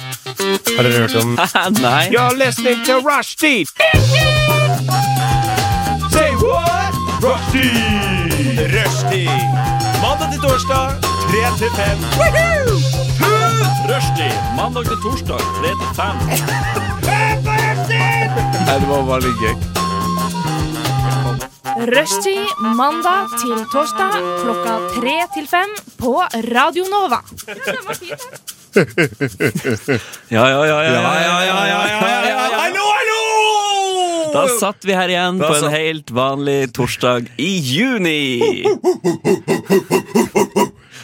Har dere hørt om Nei. You're listening to Rushdie! Say what? Rushdie! Rushdie! Mandag til torsdag, 3 til 5. Rushdie mandag til torsdag 3 til 5. Nei, det var bare litt gøy. Rushtid mandag til torsdag klokka tre til fem på Radio Nova. Ja, ja, ja, ja, ja, ja, ja, ja, ja, ja, ja. Hallo, hallo! Da satt vi her igjen på en satt- helt vanlig torsdag i juni.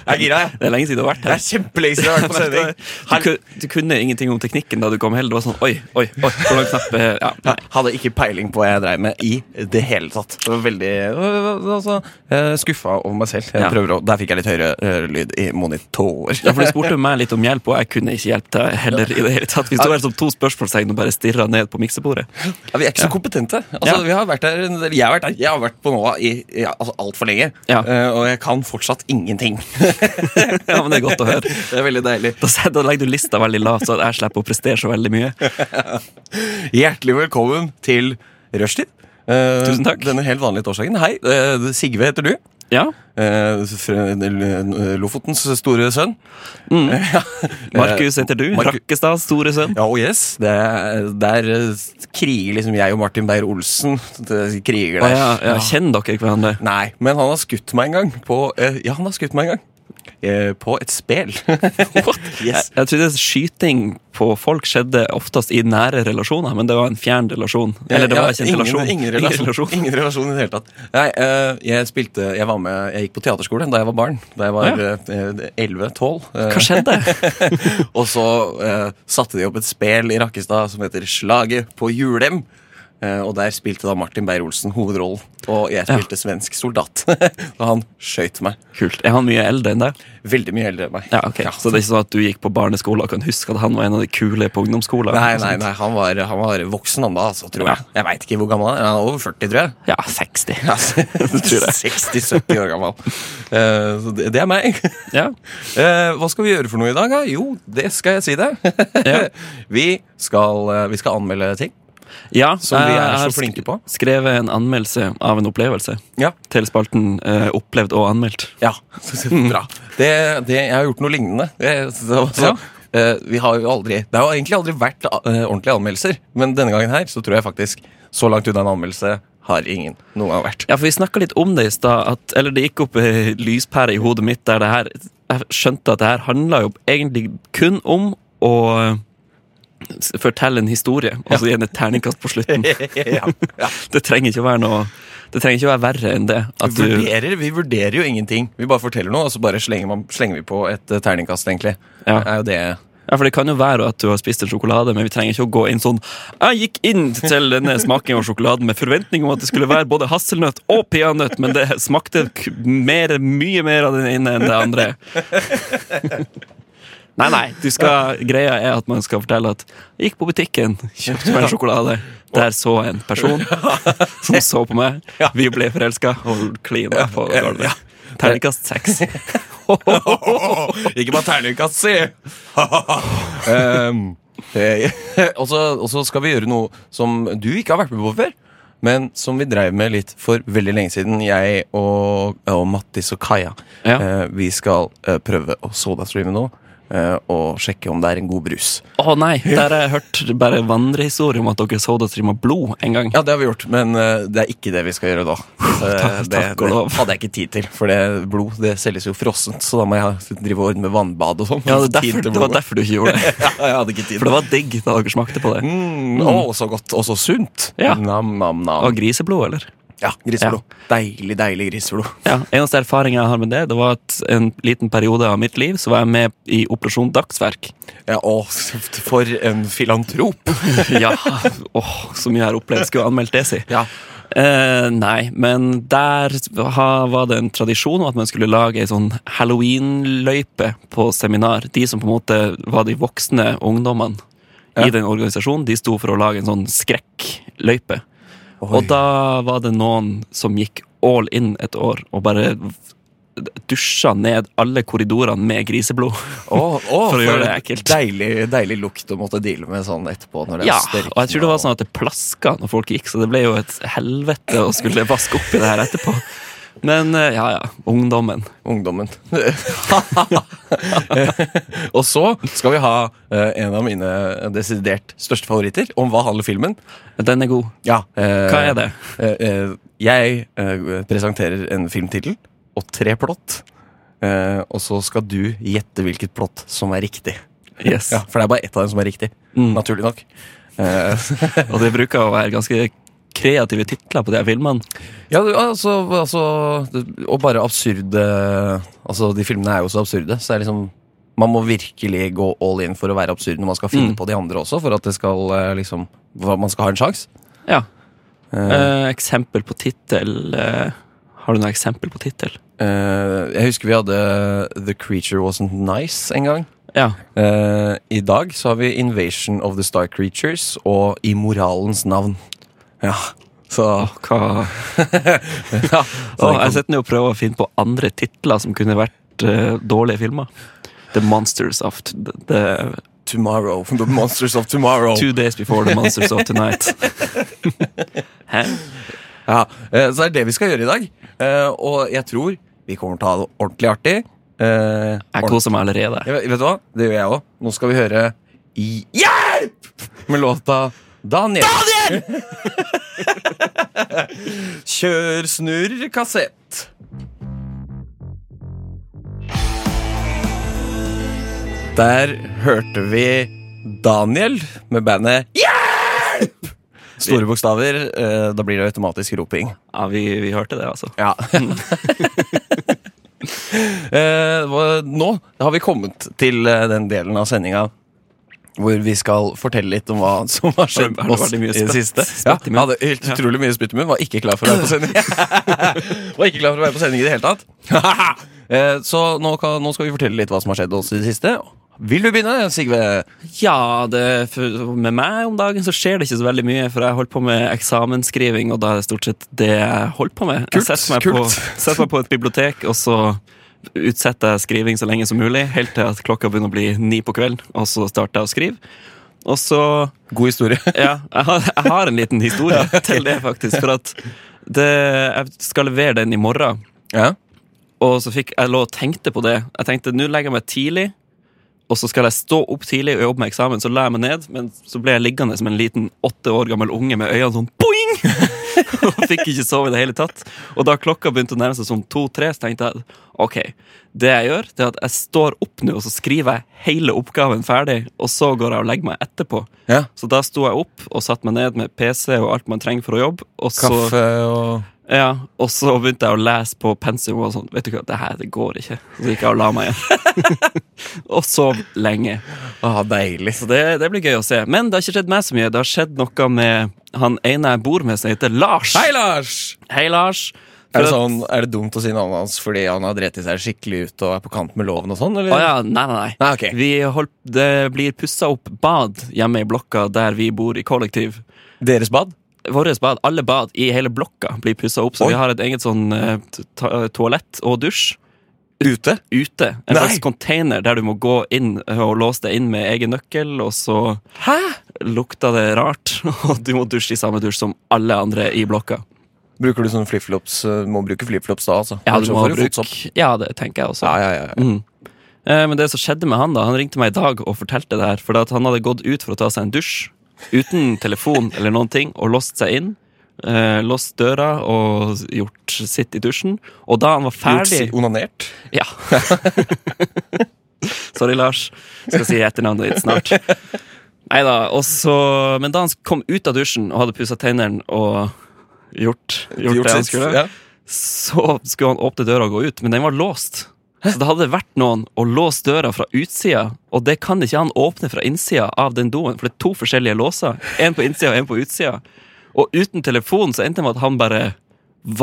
Jeg er gira, jeg. Det er lenge siden du har vært Det er her. kjempelenge siden jeg har vært på sending. Du, ku- du kunne ingenting om teknikken da du kom heller. Det var sånn, oi, oi, oi, hvordan knapp eh, ja, nei. Jeg hadde ikke peiling på hva jeg dreiv med i det hele tatt. Det var veldig øh, altså, skuffa over meg selv. Jeg Ja. prøver å, der fikk jeg litt høyere øh, lyd i monitor. Ja, for Du spurte meg litt om hjelp, og jeg kunne ikke hjelpe deg heller. i det hele tatt Vi står her som to spørsmålstegn og bare stirrer ned på miksebordet. Ja, vi er ikke så kompetente. Altså, Ja. vi har vært der, en del- jeg har vært der Jeg har vært på Nova i, i altså, altfor lenge, Ja. Eh, og jeg kan fortsatt ingenting. Ja, men det er godt å høre. Det er veldig deilig. Da, se- da legger du lista veldig lavt, så at jeg slipper å prestere så veldig mye. Hjertelig velkommen til Rushtid. Eh, Tusen takk. Denne helt vanlige torsdagen. Hei, eh, Sigve heter du. Ja, Eh, fra Lofotens store sønn. Markus heter du. Marku- Rakkestad, store sønn. Ja, oh yes. Det er, der eh, kriger liksom jeg og Martin Beyer-Olsen. Det Kriger Å der. ja, ja, kjenner dere hverandre? Nei, men han har skutt meg en gang på eh, Ja, han har skutt meg en gang. Eh, på et spel. Jeg, yes. jeg trodde skyting på folk skjedde oftest i nære relasjoner, men det var en fjern relasjon. Eller det Ja, var ikke en ingen, relasjon. Ingen relasjon. Ingen relasjon. i det hele tatt. Nei, eh, jeg spilte Jeg var med Jeg gikk på teaterskole da jeg var barn. Da jeg var eh, Ja. 11-12. Hva skjedde? eh, og så eh, satte de opp et spel i Rakkestad som heter Slaget på Julem. Eh, og der spilte da Martin Beyer-Olsen hovedrollen. Og jeg spilte svensk soldat. og han skøyt meg. Kult. Er han mye eldre enn deg? Veldig mye eldre enn meg. Ja, ok. Så det er ikke sånn at du gikk på barneskole og kan huske at han var en av de kule på ungdomsskolen? Nei, nei, nei, han var, han var voksen han da, altså, tror Ja. jeg. Jeg veit ikke hvor gammel han er. Han er over 40, tror jeg. Ja, 60. tror jeg. 60-70 år gammel. Eh, så det, det er meg. Ja. Eh, hva skal vi gjøre for noe i dag? Da? Jo, det skal jeg si deg. Ja. vi, skal, eh, vi skal anmelde ting. Ja, Som vi er jeg så har flinke på. skrevet en anmeldelse av en opplevelse Ja. til spalten eh, Opplevd og anmeldt. Ja, Mm. bra. Det, det, jeg har gjort noe lignende. Det, så, så, eh, vi har jo aldri, det har jo egentlig aldri vært eh, ordentlige anmeldelser, men denne gangen her så tror jeg faktisk så langt unna en anmeldelse har ingen noen gang vært. Ja, for vi snakka litt om det i stad, at- eller det gikk opp ei lyspære i hodet mitt der det her Jeg skjønte at det her handla jo egentlig kun om å eh, s- fortelle en historie, og så gi den et terningkast på slutten. ja, ja. Det trenger ikke å være noe Det trenger ikke å være verre enn det. At Vi du, vurderer, vi vurderer jo ingenting. Vi bare forteller noe, og så bare slenger, man, slenger vi på et eh, terningkast, egentlig. Ja. Det er jo det. ja, for det kan jo være at du har spist en sjokolade, men vi trenger ikke å gå inn sånn Jeg gikk inn til denne smaking av sjokoladen med forventning om at det skulle være både hasselnøtt og peanøtt, men det smakte k- mer, mye mer av den ene enn det andre. Nei, nei, du skal, greia er at man skal fortelle at jeg gikk på butikken, kjøpte meg en sjokolade. Der så jeg en person som så på meg. Vi ble forelska og klina på gulvet. Terningkast seks. Ikke bare terningkast, si! um, eh, og så- og så skal vi gjøre noe som du ikke har vært med på før, men som vi drev med litt for veldig lenge siden, jeg og, eh, og Mattis og Kaja. Ja. Eh, vi skal eh, prøve å sodastreame nå, eh, og sjekke om det er en god brus. Å nei, der har jeg hørt bare vandrehistorier om at dere så det streama blod en gang. Ja, det har vi gjort, men eh, det er ikke det vi skal gjøre da. Eh, takk- det, takk og lov. det hadde jeg ikke tid til, for det blod det selges jo frossent, så da må jeg drive og ordne med vannbad og sånn. Ja, det, er Tid derfor, til det var blodet. derfor du ikke gjorde det. Ja, jeg hadde ikke tid. For det var digg da dere smakte på det. Mm, å, så godt og så sunt. Ja. Nam, nam, nam. Og griseblod, eller? ja, griseblod. Deilig, deilig griseblod. Ja, Eneste erfaring jeg har med det, det var at en liten periode av mitt liv så var jeg med i Operasjon Dagsverk. Ja, å, for en filantrop. Ja, åh, så mye jeg har opplevd. Skulle jeg anmeldt det, si. Ja. Eh, nei, men der ha, var det en tradisjon om at man skulle lage ei sånn halloween-løype på seminar. De som på en måte var de voksne ungdommene i den organisasjonen, de sto for å lage en sånn skrekkløype. Og da var det noen som gikk all in et år og bare dusja ned alle korridorene med griseblod. Å, å, For å gjøre en det ekkelt. Deilig, deilig lukt å måtte deale med sånn etterpå. Når det Ja, er størkna og jeg tror det var sånn at det plaska når folk gikk, så det ble jo et helvete å skulle vaske opp i det her etterpå. Men eh, ja, ja. Ungdommen. Ungdommen. og så skal vi ha eh, en av mine desidert største favoritter om hva handler filmen. Den er god. Ja, Hva er det? jeg eh, presenterer en filmtittel og tre plott. Eh, og så skal du gjette hvilket plott som er riktig. Yes. Ja, For det er bare ett av dem som er riktig. Mm. Naturlig nok. Eh, Og det bruker å være ganske kreative titler på de her filmene. Ja, du, altså, altså Og bare absurde Altså, de filmene er jo så absurde, så det er liksom Man må virkelig gå all in for å være absurd når man skal finne Mm. på de andre også, for at det skal eh, liksom hva- Man skal ha en sjanse. Ja. Eh, Eh, eksempel på tittel eh, Har du noe eksempel på tittel? eh, jeg husker vi hadde The Creature Wasn't Nice en gang. Ja. Eh, I dag så har vi Invasion of the Star Creatures og I moralens navn. Ja, så Åh, Hva ja, Åh, så Jeg den kom- sitter nå og prøver å finne på andre titler som kunne vært eh, dårlige filmer. The Monsters of t- the, the Tomorrow. The Monsters of Tomorrow. Two Days Before The Monsters of Tonight. Hæ? Ja, eh, Så det er det vi skal gjøre i dag. Eh, Og jeg tror vi kommer til å ha det ordentlig artig. Eh, Jeg ordentlig- koser meg allerede. Jeg vet vet du hva? Det gjør jeg òg. Nå skal vi høre I- Hjelp! med låta Daniel. Daniel! Kjør snurr kassett. Der hørte vi Daniel med bandet Hjelp! Store bokstaver. eh, Da blir det automatisk roping. Ja, vi, vi hørte det, altså. Ja. Eh, hva- nå har vi kommet til eh, den delen av sendinga hvor vi skal fortelle litt om hva som har skjedd Har med du oss veldig i mye det spytt- siste. spytt Ja, i jeg munnen? hadde helt utrolig mye spytt i munnen. Var ikke klar for å være på sending. var ikke klar for å være på sending i det hele tatt. Eh, Så nå, kan, nå skal vi fortelle litt hva som har skjedd oss i det siste. Vil du begynne, Sigve? Ja, det, for med meg om dagen så skjer det ikke så veldig mye, for jeg holder på med eksamensskriving, og da er det stort sett det jeg holder på med. jeg Kult, setter meg, kult. På, setter meg på et bibliotek, og så utsetter jeg skriving så lenge som mulig, helt til at klokka begynner å bli ni på kvelden, og så starter jeg å skrive. Og så God historie. Ja, jeg har, jeg har en liten historie til det, faktisk, for at det, jeg skal levere den i morgen. Ja. Og så fikk jeg lå og tenkte på det. Jeg tenkte, nå legger jeg meg tidlig, og så skal jeg stå opp tidlig og jobbe med eksamen. Så la jeg meg ned, men så ble jeg liggende som en liten åtte år gammel unge med øynene sånn boing! og fikk ikke sove i det hele tatt. Og da klokka begynte å nærme seg som to-tre, så tenkte jeg ok, det jeg gjør, det er at jeg står opp nå, og så skriver jeg hele oppgaven ferdig, og så går jeg og legger meg etterpå. ja. Så da sto jeg opp og satte meg ned med PC og alt man trenger for å jobbe. Og så, Kaffe og ja, og så begynte jeg å lese på pensum og sånn. Vet du hva, det her det går ikke. Så gikk jeg og la meg igjen. og sov lenge. ah, Deilig. Så det, det blir gøy å se. Men det har ikke skjedd meg så mye. Det har skjedd noe med han ene jeg bor med, som heter Lars. Hei, Lars! Hei, Lars. Er det, For at- sånn, er det dumt å si navnet hans fordi han har drept seg skikkelig ut og er på kant med loven og sånn? Eller? Å ja, nei, nei, nei. Nei, Ah, ok. Vi holdt, det blir pussa opp bad hjemme i blokka der vi bor i kollektiv. Deres bad? Våre bad, alle bad i hele blokka blir pussa opp, så Oi. vi har et eget sånn eh, t- ta- toalett og dusj Ute? ute. En Nei. slags container der du må gå inn og låse deg inn med egen nøkkel, og så Hæ? lukta det rart, og du må dusje i samme dusj som alle andre i blokka. Bruker du sånne flipflops? eh, Må bruke flipflops da, altså. Ja, Ellers du så må får du bruke, fotsopp. ja det tenker jeg også. Ja, ja, ja. ja. Mm. Eh, Men det som skjedde med han da Han ringte meg i dag og fortalte det her Fordi at han hadde gått ut for å ta seg en dusj Uten telefon eller noen ting Og låst seg inn eh, Låst døra og gjort sitt i dusjen Og da han var Gjort ferdig si- Onanert? ja. Sorry, Lars. Skal si etternavnet ditt snart. Neida, og så- Men da han kom ut av dusjen og hadde pussa tennene og gjort, gjort, det han sitt, skulle, ja. så skulle han åpne døra og gå ut, men den var låst. Så det hadde vært noen å låse døra fra utsida, og det kan ikke han åpne fra innsida av den doen, for det er to forskjellige låser. En på innsida og en på utsida. Og uten telefon så endte det med at han bare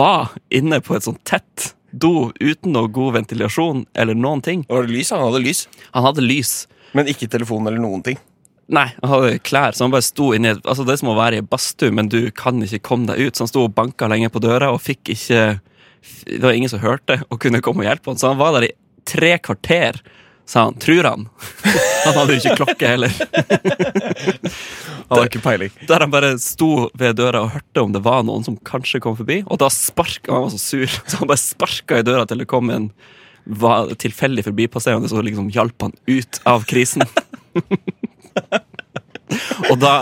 var inne på et sånt tett do uten noe god ventilasjon eller noen ting. Var det lys? Han hadde lys. Han hadde lys. Men ikke telefon eller noen ting. Nei, han hadde klær, så han bare sto inni et- Altså, det er som å være i badstue, men du kan ikke komme deg ut. Så han sto og banka lenge på døra og fikk ikke f- Det var ingen som hørte og kunne komme og hjelpe han, så han var der i tre kvarter. Sa han, tror han. Han hadde jo ikke klokke heller. Hadde ikke peiling. Der han bare sto ved døra og hørte om det var noen som kanskje kom forbi. Og da sparka han var så sur, så han bare sparka i døra til det kom en var tilfeldig forbipasserende som liksom hjalp han ut av krisen. og da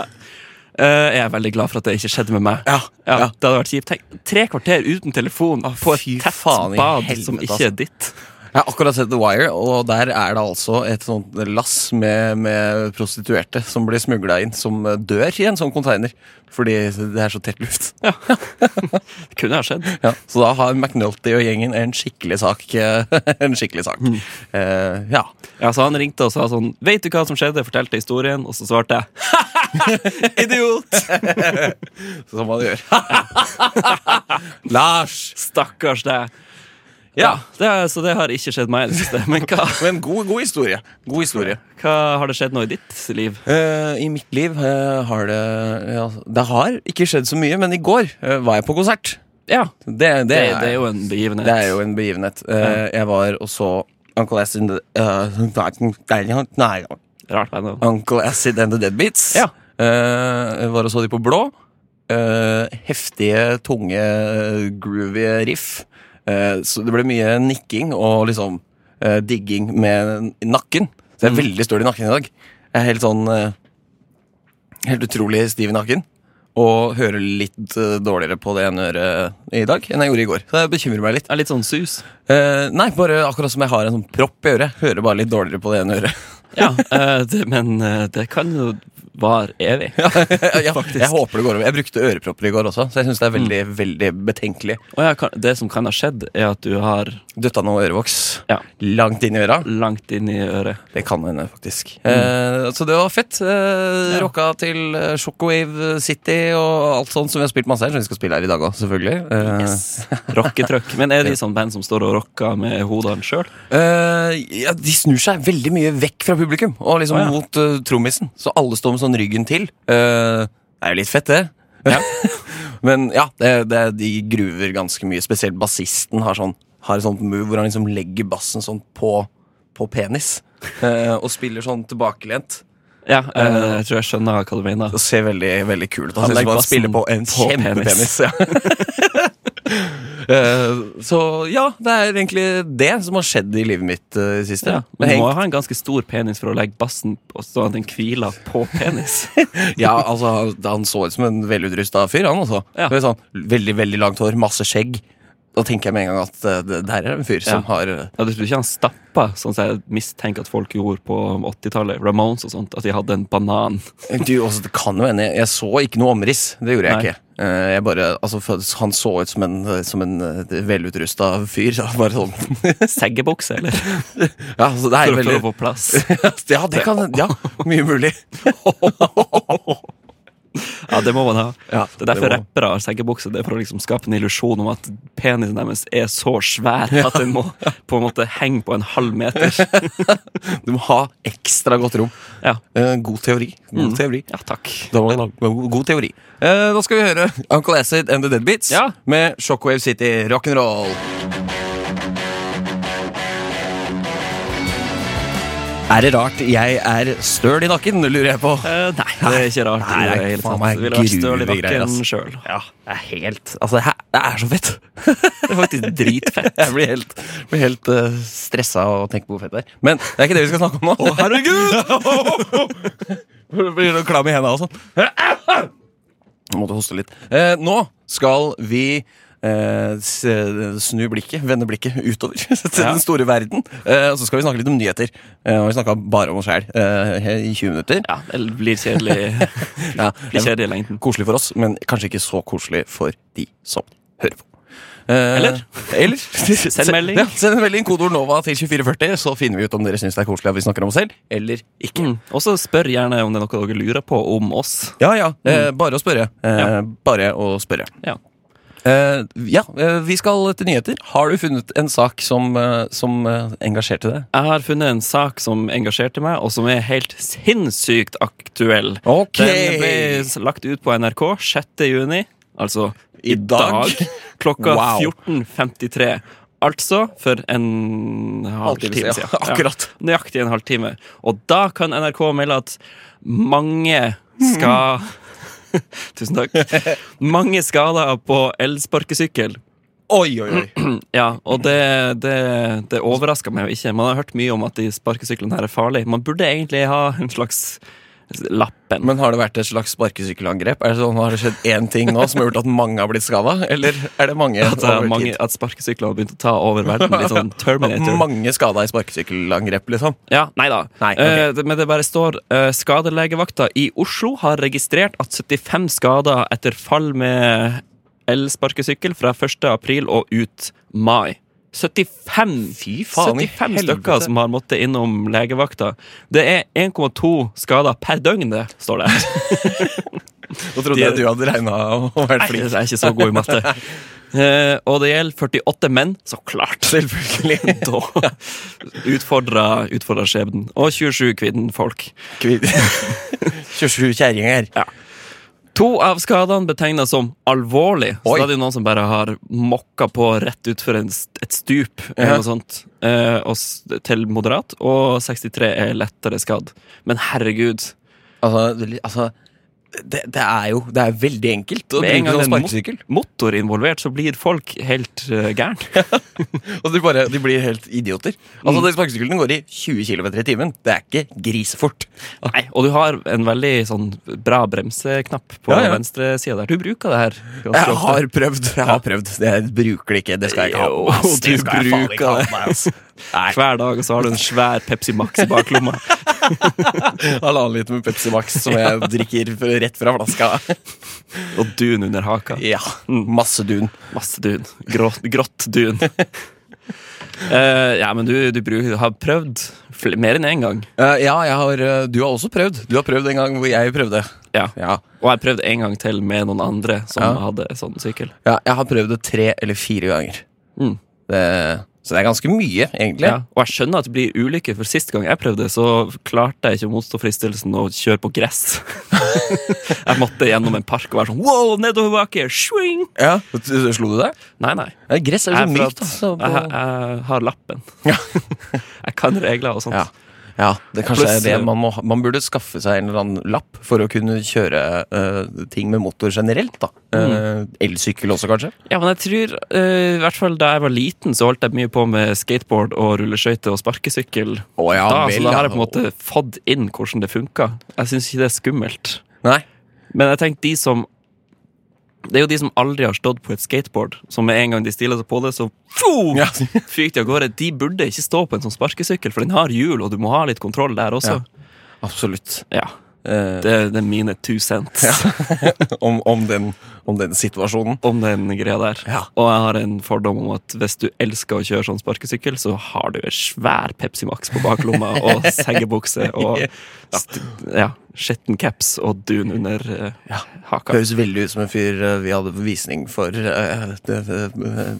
eh, er jeg veldig glad for at det ikke skjedde med meg. Ja, ja. Det hadde vært kjipt. Tenk, tre kvarter uten telefon på et fy tett faen i bad helvete, som ikke altså. er ditt. Jeg har akkurat sett The Wire, og der er det altså et sånt lass med, med prostituerte som blir smugla inn, som dør i en sånn container fordi det er så tett luft. Ja. det kunne ha skjedd. Ja, så da har McNulty og gjengen en skikkelig sak. en skikkelig sak. Eh, ja. Ja, så han ringte og sa sånn Vet du hva som skjedde? Fortalte historien, og så svarte jeg Idiot! Som man gjør. Lars! Stakkars deg. Ja, Ja. det, er- så det har ikke skjedd meg i det siste. Men hva, Men god, god historie. God historie. hva har det skjedd nå i ditt liv? Eh, I mitt liv eh, har det ja, Det har ikke skjedd så mye, men i går eh, var jeg på konsert. Ja, Det, det, det, det, er er jo en begivenhet. Det er jo en begivenhet. Eh, Jeg var og så Uncle Acid and eh, the, uh, Rart band. da. Uncle Acid and the Deadbeats. Ja. Eh, jeg var og så de på blå. Eh, heftige, tunge, groovy riff. Eh, så det ble mye nikking og liksom eh, digging med nakken. Så jeg er veldig støl i nakken i dag. Jeg er helt sånn eh, Helt utrolig stiv i nakken. Og hører litt eh, dårligere på det ene øret eh, i dag enn jeg gjorde i går. Så det bekymrer meg litt. Det er litt sånn sus. Eh, nei, bare akkurat som jeg har en sånn propp i øret. Hører bare litt dårligere på det ene øret. Ja, eh, det, men eh, det kan jo vare evig. jeg, jeg håper det går over. Jeg brukte ørepropper i går også, så jeg syns det er veldig Mm. veldig betenkelig. Og ja, kan, det som kan ha skjedd, er at du har Døtta noe ørevoks ja, langt inn i øra. langt inn i øret. Det kan hende, faktisk. Eh, så det var fett. Eh, Mm. Ja. Rocka til eh, Shockwave City og alt sånt som vi har spilt masse her, som vi skal spille her i dag òg, selvfølgelig. Eh, Rocketrøkk. Men er de sånn band som står og rocker med hodene sjøl? eh, ja, de snur seg veldig mye vekk fra publikum, og liksom Å, ja. mot eh, trommisen. Så alle står med sånn ryggen til. Eh, det er jo litt fett, det. Ja. Men ja, det, det, de gruver ganske mye. Spesielt bassisten har sånn Har et sånt move hvor han liksom legger bassen sånn på, på penis. eh, og spiller sånn tilbakelent. Ja, eh, jeg tror jeg skjønner hva du mener. Det ser veldig, veldig kult ut. Han Han legger synes man bassen spiller på en på kjempepenis. Ja. Eh, så ja, det er egentlig det som har skjedd i livet mitt eh, i siste. Ja, Men men du må Henk- ha en ganske stor penis for å legge bassen på, sånn at den hviler på penis. ja, altså, han- han så ut som en velutrusta fyr, han også. Ja. Det var Sånn, veldig, veldig langt hår, masse skjegg. Da tenker jeg med en gang at eh, det, der er en fyr Ja. som har eh, Ja, du tror ikke han stappa, sånn som jeg mistenker at folk gjorde på 80-tallet? Ramones og sånt, at de hadde en banan. Du, altså, det kan jo hende. Jeg- Jeg så ikke noe omriss. Det gjorde jeg Nei. ikke. Eh, Jeg bare, altså, for- han så ut som en, som en eh, velutrusta fyr. Så bare sånn. Seggebukse, eller? Ja, altså, det er For å klare å veldig få plass. Ja, det kan Ja, mye mulig. Ja, det må man ha. Ja, Det er derfor det må- rappere har seggebukse. Det er for å liksom skape en illusjon om at penisen deres er så svær at den må på en måte henge på en halv meter. Du må ha ekstra godt rom. Ja, Eh, God teori. God teori. ja takk. Da må jeg lage- God teori. Eh, Da skal vi høre Uncle Acid and The Deadbeats Ja. med Shockwave City rock'n'roll. Er det rart jeg er støl i nakken, lurer jeg på. Eh, nei, det er ikke rart. Nei, i det er det hele faen tatt. meg Det ville vært støl i gruve greier, nakken ass. sjøl. Ja, det er helt Altså, det, her, det er så fett. Det er faktisk dritfett. Jeg blir helt, blir helt eh, stressa av å tenke på hvor fett det er. Men det er ikke det vi skal snakke om nå. Å, herregud! blir du klam i hendene og sånn. Jeg måtte hoste litt. Eh, nå skal vi eh, s- snu blikket, vende blikket utover til Ja. den store verden. Eh, og så skal vi snakke litt om nyheter. Eh, og vi snakka bare om oss sjæl eh, i 20 minutter. Ja, det blir kjedelig. Ja, Blir kjedelig i lengden. Koselig for oss, men kanskje ikke så koselig for de som hører på. Eh, Eller? eller Send melding. Ja, send en melding, kodeord NOVA til 2440, så finner vi ut om dere syns det er koselig at vi snakker om oss selv, eller ikke. Mm. Og så spør gjerne om det er noe dere lurer på om oss. Ja, ja. Eh, bare å spørre. Eh, Bare å spørre. Mm. Ja. Eh, ja, eh, vi skal til nyheter. Har du funnet en sak som, eh, som eh, engasjerte deg? Jeg har funnet en sak som engasjerte meg, og som er helt sinnssykt aktuell. Ok. Den ble lagt ut på NRK 6. juni, altså I dag. klokka Wow. 14.53. Altså for en Halvtime halvtime siden, siden. ja, akkurat. Ja, nøyaktig en halvtime. Og da kan NRK melde at mange skal Tusen takk. Mange skader på elsparkesykkel. Oi, oi, oi. Ja, og det, det, det overrasker meg jo ikke. Man har hørt mye om at de sparkesyklene her er farlige. Man burde egentlig ha en slags lappen. Men har det vært et slags sparkesykkelangrep? Er det sånn, Har det skjedd én ting nå som har gjort at mange har blitt skada? Eller er det mange At, det er over mange, tid? at sparkesykler har begynt å ta over verden. Litt sånn Terminator. Mange skada i sparkesykkelangrep, liksom? Ja, nei da. Nei, ok. Eh, det- men det bare står eh, skadelegevakta i Oslo har registrert at 75 skader etter fall med elsparkesykkel fra 1. april og ut mai. 75! Fy faen i 75 helvete. stykker som har måttet innom legevakta. Det er 1,2 skader per døgn, det, står det. Da trodde jeg du hadde regna å Fordi være flink. jeg er ikke så god i matte. Eh, og det gjelder 48 menn, så klart. Selvfølgelig. Da utfordrer utfordrer skjebnen. Og 27 kvinnfolk. Kvin- 27 kjerringer. To av skadene betegnes som alvorlig. Så Oi. da er det jo noen som bare har mokka på rett utfor en st- et stup, eller Ja. noe sånt, eh, og s- til moderat, og 63 er lettere skadd. Men herregud. Altså, det- altså det, det er jo det er veldig enkelt å Med en gang bruke sånn det er mot- sparkesykkel. motor involvert, så blir folk helt uh, gærne. Og de, bare, de blir helt idioter. Altså, de Sparkesyklene går i 20 km i timen. Det er ikke grisefort. Nei, og du har en veldig sånn bra bremseknapp på Ja, ja. venstre side der. Du bruker det her. ganske Jeg ofte. har prøvd. Jeg har prøvd. Jeg bruker det ikke. Det skal jeg ikke ha på meg. Jo, ass. Det du skal jeg faen ikke bruker ha det. på meg, ass. Nei. Hver dag og så har du en svær Pepsi Max i baklomma. Halvannen liter med Pepsi Max som jeg drikker f- rett fra flaska. Mm. og dun under haka. Ja, Masse dun. Masse dun. Grått, grått dun. Eh, ja, men du, du, bruker, du har prøvd fl mer enn én gang. Eh, ja, jeg har, eh, du har også prøvd. Du har prøvd en gang hvor jeg prøvde. Ja. Ja. Og jeg har prøvd en gang til med noen andre som Ja. hadde sånn sykkel. Ja, jeg har prøvd det tre eller fire ganger. Mm. Det, så det er ganske mye, egentlig. Ja. Og jeg skjønner at det blir ulykker, for sist gang jeg prøvde, så klarte jeg ikke å motstå fristelsen å kjøre på gress. jeg måtte gjennom en park og være sånn wow, nedoverbakke! Swing! Ja. Så Slo du deg? Nei, nei. Ja, gress Jeg, er er så for at mykt, altså. På... jeg, jeg har lappen. jeg kan regler og sånt. Ja. ja, det kanskje Pluss- er det man må ha. Man burde skaffe seg en eller annen lapp for å kunne kjøre eh, ting med motor generelt, da. Eh, Mm. elsykkel også, kanskje. Ja, men jeg tror, eh, i hvert fall da jeg var liten, så holdt jeg mye på med skateboard og rulleskøyter og sparkesykkel. Å, ja da, vel, så da har ja. jeg på en måte fått inn hvordan det funka. Jeg syns ikke det er skummelt. Nei. Men jeg tenkte de som Det er jo de som aldri har stått på et skateboard, som med en gang de stiller seg på det, så fo, Ja. fyker de av gårde. De burde ikke stå på en sånn sparkesykkel, for den har hjul, og du må ha litt kontroll der også. Absolutt. Ja, Eh, Det, det er mine two cents om, om, den, om den situasjonen. om den greia der. Ja. Og jeg har en fordom om at hvis du elsker å kjøre sånn sparkesykkel, så har du en svær Pepsi Max på baklomma og seggebukse og st- ja, skitten caps og dun under eh, haka. Høres veldig ut som en fyr eh, vi hadde på visning for eh, det,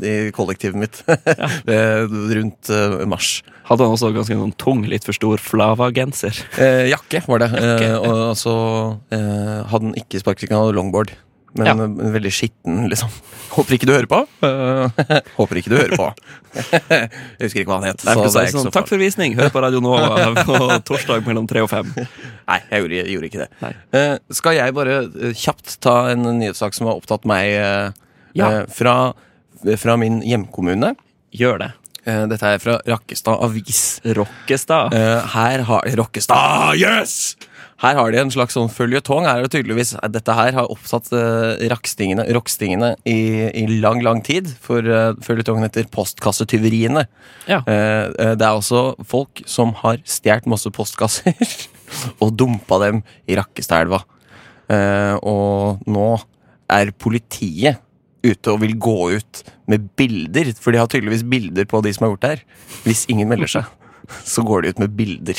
det, i kollektivet mitt Eh, rundt eh, mars. Hadde han også ganske noen tung, litt for stor flava-genser. Eh, jakke var det. eh, og så eh, hadde han ikke sparkesykkel, han hadde longboard. Men Ja. eh, veldig skitten, liksom. Håper ikke du hører på. Eh, håper ikke du hører på. jeg husker ikke hva han het. Nei, så for å det si er det ikke sånn, så Takk farlig. for visning! Hør på Radio Nova på torsdag mellom tre og fem. Nei, jeg gjorde, jeg gjorde ikke det. Nei. Eh, skal jeg bare eh, kjapt ta en nyhetssak som har opptatt meg eh, Ja. eh, fra, fra min hjemkommune? Gjør det. Eh, dette er fra Rakkestad Avis. Rockestad. Eh, her har Rokkestad, yes! Her har de en slags sånn føljetong. Her er det tydeligvis eh, Dette her har oppsatt eh, rakstingene, rockstingene i, i lang, lang tid. For eh, føljetongen heter Postkassetyveriene. Ja. Eh, eh, det er også folk som har stjålet masse postkasser og dumpa dem i Rakkestadelva. Eh, og nå er politiet ute og vil gå ut med bilder, for de har tydeligvis bilder på de som har gjort det her. Hvis ingen melder seg, så går de ut med bilder.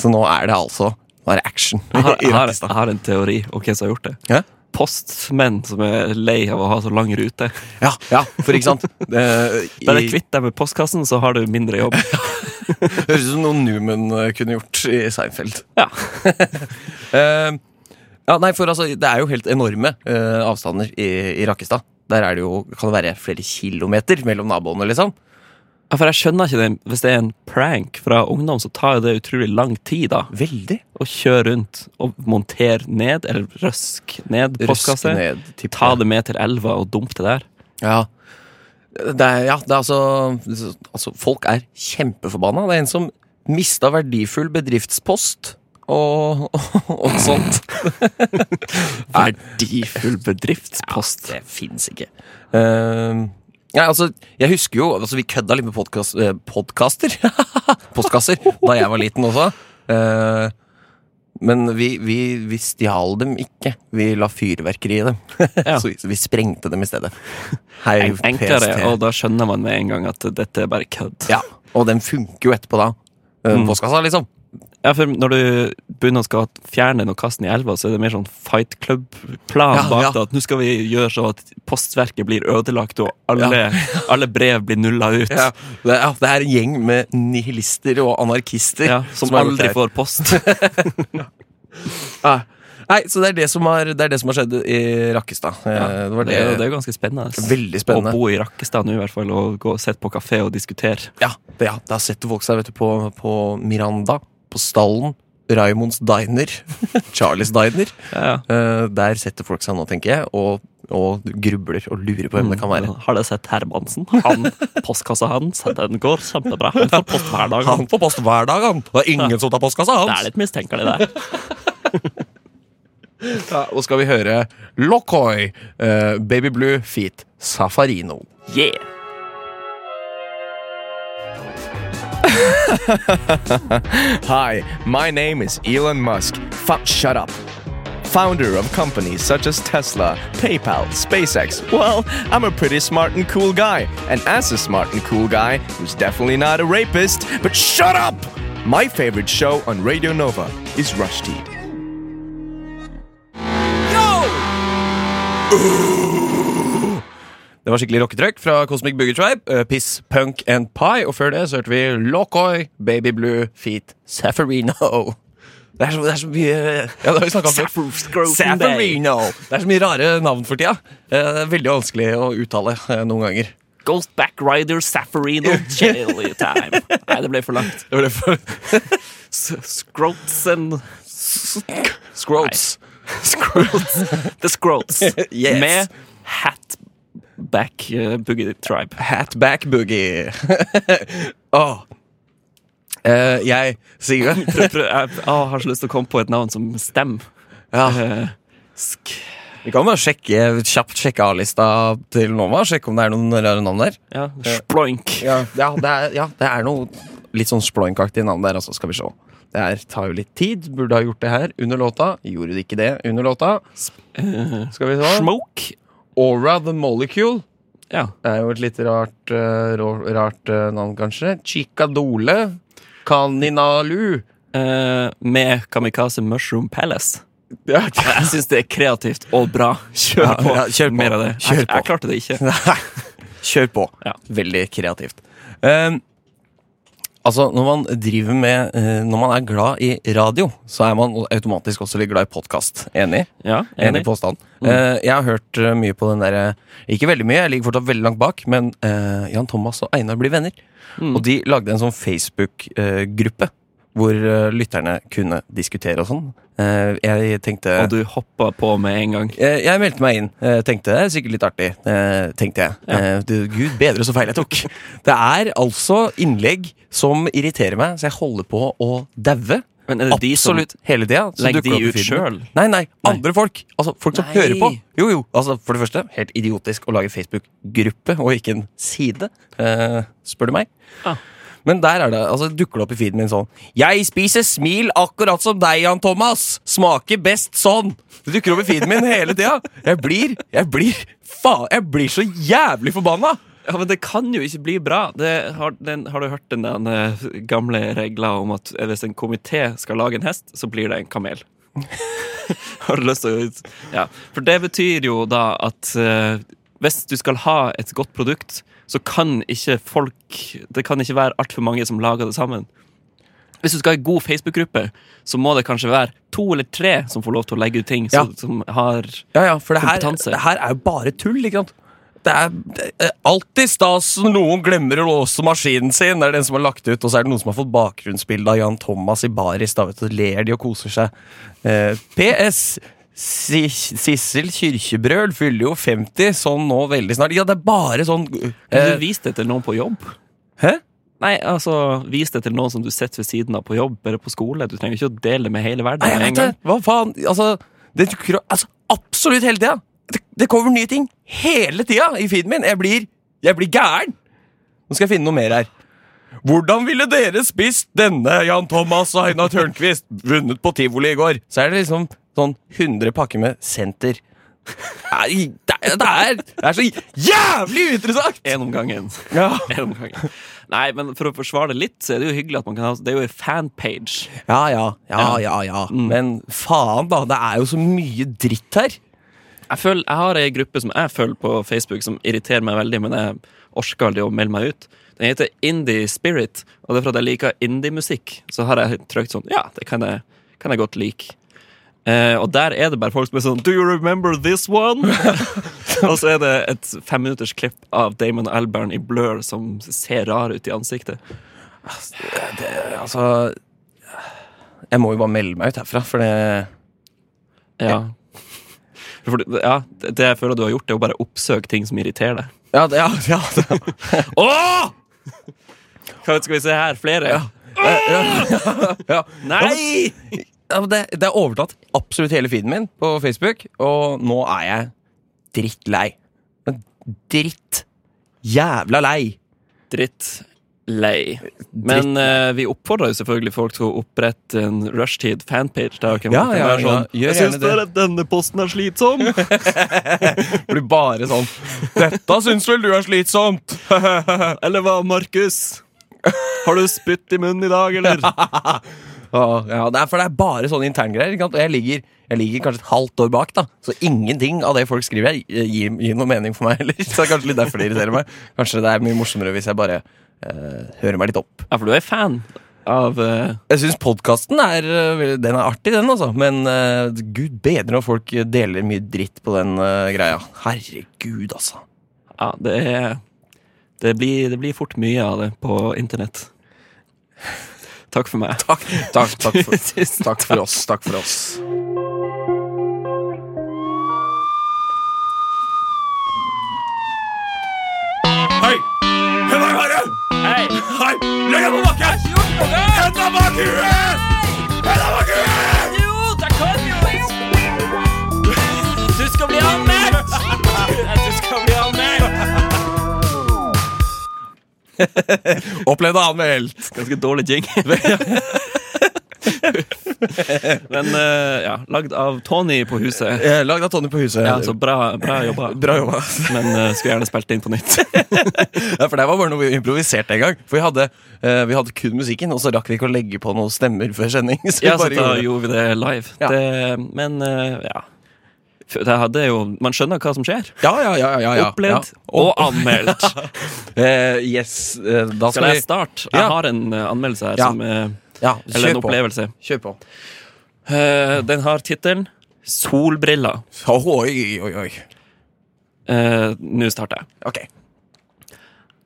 Så nå er det altså Nå er det action Jeg har, i jeg har, Rakkestad. jeg har en teori om hvem som har gjort det. Ja? Postmenn som er lei av å ha så lang rute. Ja, ja, for ikke sant? Eh, i- Bare kvitt deg med postkassen, så har du mindre jobb. Høres ut som noe Newman eh, kunne gjort i Seinfeld. Ja. Eh, ja, nei, for altså, Det er jo helt enorme eh, avstander i, i Rakkestad. Der er det jo, kan det være flere kilometer mellom naboene, liksom. Ja, For jeg skjønner ikke det. Hvis det er en prank fra ungdom, så tar jo det utrolig lang tid da Veldig. å kjøre rundt og montere ned, eller røsk ned Røske postkasse. ned. tipper Ta jeg. det med til elva og dump det der. Ja. Det er, ja, det er altså, altså Folk er kjempeforbanna. Det er en som mista verdifull bedriftspost og, og, og sånt. Verdifull bedriftspost. Det fins ikke. Ehm, nei, altså, jeg husker jo altså, Vi kødda litt med podkast, eh, podkaster. Postkasser. Da jeg var liten også. Eh, men vi, vi, vi stjal dem ikke. Vi la fyrverkeri i dem. Ja. Så vi, så vi sprengte dem i stedet. Hei, En- Enklere, PST. og da skjønner man med en gang at dette er bare kødd. Ja, og den funker jo etterpå da. Eh, Mm. Postkassa, liksom. Ja, for når du begynner å skal fjerne den og kaste den i elva, så er det mer sånn fight club-plan Ja, bak ja. det. At nå skal vi gjøre så at postverket blir ødelagt, og alle, alle brev blir nulla ut. Ja. Det, er, ja, det er en gjeng med nihilister og anarkister. Ja, som, har gjort aldri det her. får post. Ja. Nei, så det er det som har, det er det som har skjedd i Rakkestad. Eh, det var Det det. er jo det er jo ganske spennende. Veldig spennende. Å bo i Rakkestad nå, i hvert fall, og gå og sitte på kafé og diskutere. Ja, det, ja, da setter folk seg vet du, på, på Miranda, på Stallen, Raimonds Diner, Charlies Diner. Ja, Eh, der setter folk seg nå, tenker jeg, og, og grubler og lurer på hvem det kan være. Har dere sett Hermansen? Han, Postkassa hans, den går kjempebra. Han får post hver dag. Han får post hver dag, han! Det er ingen som tar postkassa Det hans! er litt mistenkelig, det. Ja, og skal vi høre Lokoi, eh, Baby Blue, Feet, Safarino. Yeah! Hi, my name is Elon Musk. Fuck, shut up. Founder of companies such as Tesla, PayPal, SpaceX. Well, I'm a pretty smart and cool guy. And as a smart and cool guy, who's definitely not a rapist, but shut up! My favorite show on Radio Nova is Rushdie. Det var skikkelig rocketrøkk fra Cosmic Booger Tribe, eh, Piss, Punk and Pie, og før det så hørte vi Lokoi, Baby Blue, Feet, Safarino. Det er, så, det er så mye ja, det har vi snakket om før. Scrotum Bay. Safarino. Det er så mye rare navn for tida. Eh, Det er veldig vanskelig å uttale eh, noen ganger. Ghostback Rider Safarino Jelly Time. Nei, det ble for langt. Det var det for Scroats and Scroats. Scroats. The Scroats. Yes. Med Hatback eh, Boogie Tribe. Hatback Boogie. Åh. Eh, jeg Sigurd? Prøv, prøv, jeg å, har så lyst til å komme på et navn som stemmer. Ja. Eh, sk... Vi kan bare sjekke, kjapt sjekke A-lista til Nova. Sjekke om det er noen rare navn der. Ja, sploink. Ja, det, er, ja, det er noe litt sånn sploinkaktig navn der, altså. Skal vi se. Det her tar jo litt tid. Burde ha gjort det her under låta. Gjorde det ikke det under låta. Skal vi se. Smoke. Aura The Molecule. Ja. Det er jo et litt rart, eh, rå- rart eh, navn, kanskje. Chikadole. Kaninalu. Eh, med Kamikaze Mushroom Palace. Ja, Jeg syns det er kreativt og bra. Kjør Ja, på. ja, kjør på. Mer av det. Kjør Jeg, på. jeg klarte det ikke. Nei, kjør på. Ja. Veldig kreativt. Ehm, altså, når man driver med eh, Når man er glad i radio, så er man automatisk også litt glad i podkast. Enig? Ja, Enig enig. påstand. Eh, jeg har hørt eh, mye på den derre Ikke veldig mye, jeg ligger fortsatt veldig langt bak, men eh, Jan Thomas og Einar blir venner. Og de lagde en sånn Facebook-gruppe. Hvor eh, lytterne kunne diskutere og sånn. Eh, Jeg tenkte Og du hoppa på med en gang. Eh, Jeg meldte meg inn. eh, Tenkte det er sikkert litt artig. eh, Tenkte jeg. Eh, du, Gud bedre så feil jeg tok. Det er altså innlegg som irriterer meg, så jeg holder på å daue. Men er det de som- Absolutt hele tida. så Legger dukker det de opp i ut feeden selv? min. Nei, nei. Andre folk. Altså Folk som Nei. hører på. Jo, jo. Altså For det første, helt idiotisk å lage Facebook-gruppe og ikke en side, eh, spør du meg. Ah. Men der er det, altså dukker det opp i feeden min sånn Jeg spiser smil akkurat som deg, Jan Thomas Smaker best sånn Det dukker opp i feeden min hele tida Jeg blir, jeg blir, faen Jeg blir så jævlig forbanna Ja, men det kan jo ikke bli bra. Det har, den, har du hørt den der, eh, gamle regla om at eh, hvis en komité skal lage en hest, så blir det en kamel? har du lyst til å Ja. For det betyr jo da at eh, hvis du skal ha et godt produkt, så kan ikke folk Det kan ikke være altfor mange som lager det sammen. Hvis du skal ha en god Facebook-gruppe, så må det kanskje være to eller tre som får lov til å legge ut ting Ja. som, som har Ja, ja, for det her, Kompetanse. det her er jo bare tull, ikke sant det er det er alltid stas når noen glemmer å låse maskinen sin. Det er den som har lagt ut, og så er det noen som har fått bakgrunnsbilde av Jan Thomas i baris. Da vet du, så ler de og koser seg. Eh, PS. Si- Sissel Kyrkjebrøl fyller jo 50 sånn nå veldig snart. Ja, det er bare sånn Har du eh, vist det til noen på jobb? Hæ? Nei, altså, vis det til noen som du sitter ved siden av på jobb eller på skole. Du trenger ikke å dele det med hele verden Nei, jeg med en vet det! gang. Hva faen? Altså, det dukker opp altså, absolutt hele tida! Det, det kommer nye ting hele tida i feeden min! Jeg blir, jeg blir gæren! Nå skal jeg finne noe mer her. Hvordan ville dere spist denne Jan Thomas og Aina Tørnquist vunnet på tivoli i går? Så er det liksom sånn 100 pakker med senter. Nei, Det er, det er, det er så jævlig uinteressant! En om gangen. Ja. En om gangen. Nei, men for å forsvare det litt, så er det jo hyggelig at man kan ha Det er jo en fanpage. Ja, ja, ja, ja, ja. Mm. Men faen, da. Det er jo så mye dritt her. Jeg, føler, jeg har ei gruppe som jeg følger på Facebook, som irriterer meg veldig, men jeg orker aldri å melde meg ut. Den heter Indie Spirit, og det er for at jeg liker indie-musikk. Så har jeg trykt sånn Ja, det kan jeg, kan jeg godt like. Eh, og der er det bare folk som er sånn Do you remember this one? og så er det et femminutters klipp av Damon Albarn i Blur som ser rar ut i ansiktet. Altså Jeg må jo bare melde meg ut herfra, for det Ja. For, det- ja, det det jeg føler du har gjort, er å bare oppsøke ting som irriterer deg. Ja, det, ja, ja, det. Åh! Hva skal vi se her? Flere? Nei! Ja, men det, det er overtatt absolutt hele feeden min på Facebook, og nå er jeg drittlei. Men Dritt. Jævla lei. Dritt lei. Men eh, vi oppfordrer jo selvfølgelig folk til å opprette en rushtid-fanpage. der kan Ja, man kan ja, være ja, sånn, gjør Jeg gjerne syns bare at denne posten er slitsom. Blir bare sånn Dette syns vel du er slitsomt? Eller hva, Markus? Har du spytt i munnen i dag, eller? Ja, ja, det er, for det er bare sånne interngreier. ikke sant? Og jeg ligger, jeg ligger kanskje et halvt år bak, da. Så ingenting av det folk skriver her, eh, gir, gir noe mening for meg heller. Så det er kanskje litt derfor det irriterer meg. Kanskje det er mye morsommere hvis jeg bare eh, hører meg litt opp. Ja, for du er fan av eh, Jeg syns podkasten er, eh, vel- den er artig, den, altså. Men eh, gud bedre når folk deler mye dritt på den eh, greia. Herregud, altså. Ja, det er det blir, det blir fort mye av det på internett. Takk for meg. Takk, takk, takk, for, Tusen takk for oss. Takk for oss. Hei! Hvem er det? Hei! Hei! Legg deg på bakken! Henda bak huet! Henda bak huet! Jo, Opplevd og anmeldt. Ganske dårlig jingle. Men eh, ja, lagd av Tony på huset. Eh, Lagd av Tony på huset. Ja, så bra, bra jobba. Bra jobba. Men eh, skulle gjerne spilt det inn på nytt. Ja, for det var bare noe vi improviserte en gang. For vi hadde, eh, vi hadde kun musikken, og så rakk vi ikke å legge på noen stemmer før sending. Så vi Ja, så bare da gjorde det. gjorde vi det live. Ja. Det, men eh, ja. For Det hadde jo, man skjønner hva som skjer. ja, ja, ja, ja, ja. Opplevd Ja. og anmeldt. Eh, yes, eh, da skal, Skal jeg vi starte? Ja. Jeg har en eh, anmeldelse her. Ja. Som, eh, ja, eller en Kjør på. opplevelse. Kjør på. Eh, den har tittelen 'Solbriller'. Oi, oi, oi. Eh, Nå starter jeg. Ok.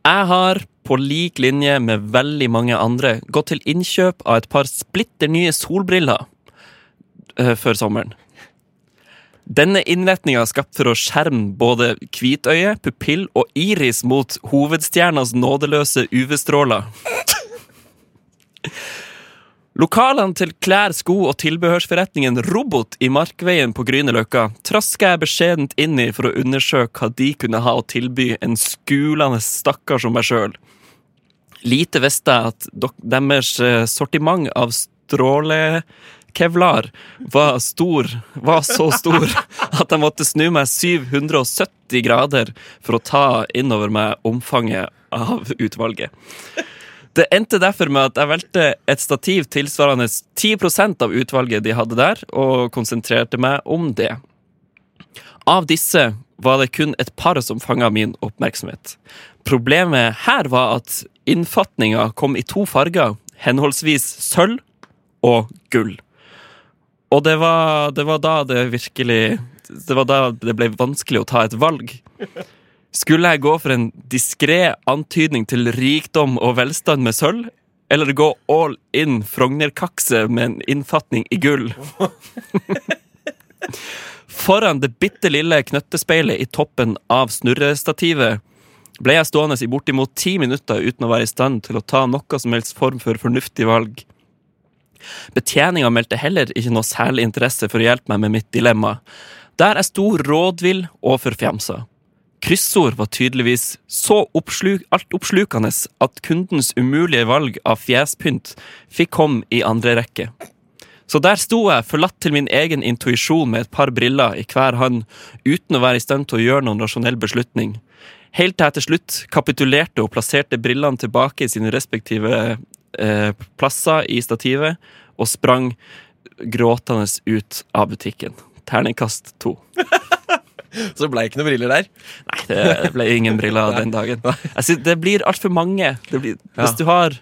Jeg har, på lik linje med veldig mange andre, gått til innkjøp av et par splitter nye solbriller eh, før sommeren. Denne innretninga er skapt for å skjerme både hvitøye, pupill og iris mot hovedstjernas nådeløse UV-stråler. Lokalene til klær, sko og tilbehørsforretningen Robot i Markveien på Grünerløkka traska jeg beskjedent inn i for å undersøke hva de kunne ha å tilby en skulende stakkar som meg sjøl. Lite visste jeg at dok- deres eh, sortiment av strålekevlar var stor, var så stor at jeg måtte snu meg 770 grader for å ta innover meg omfanget av utvalget. Det endte derfor med at jeg valgte et stativ tilsvarende 10 av utvalget de hadde der, og konsentrerte meg om det. Av disse var det kun et par som fanga min oppmerksomhet. Problemet her var at innfatninga kom i to farger, henholdsvis sølv og gull. Og det var, det var da det virkelig Det var da det ble vanskelig å ta et valg. Skulle jeg gå for en diskré antydning til rikdom og velstand med sølv? Eller gå all in Frogner-kakse med en innfatning i gull? Foran det bitte lille knøttespeilet i toppen av snurrestativet ble jeg stående i bortimot ti minutter uten å være i stand til å ta noe som helst form for fornuftig valg. Betjeninga meldte heller ikke noe særlig interesse for å hjelpe meg med mitt dilemma, der jeg sto rådvill og forfjamsa. Kryssord var tydeligvis så oppsluk, altoppslukende at kundens umulige valg av fjespynt fikk komme i andre rekke. Så der sto jeg, forlatt til min egen intuisjon med et par briller i hver hånd, uten å være i stand til å gjøre noen rasjonell beslutning. Helt til jeg til slutt kapitulerte og plasserte brillene tilbake i sine respektive eh, plasser i stativet, og sprang gråtende ut av butikken. Terningkast to. Så det ble ikke noen briller der. Nei, det ble ingen briller den dagen. Jeg synes, det blir altfor mange. Det blir, Hvis du har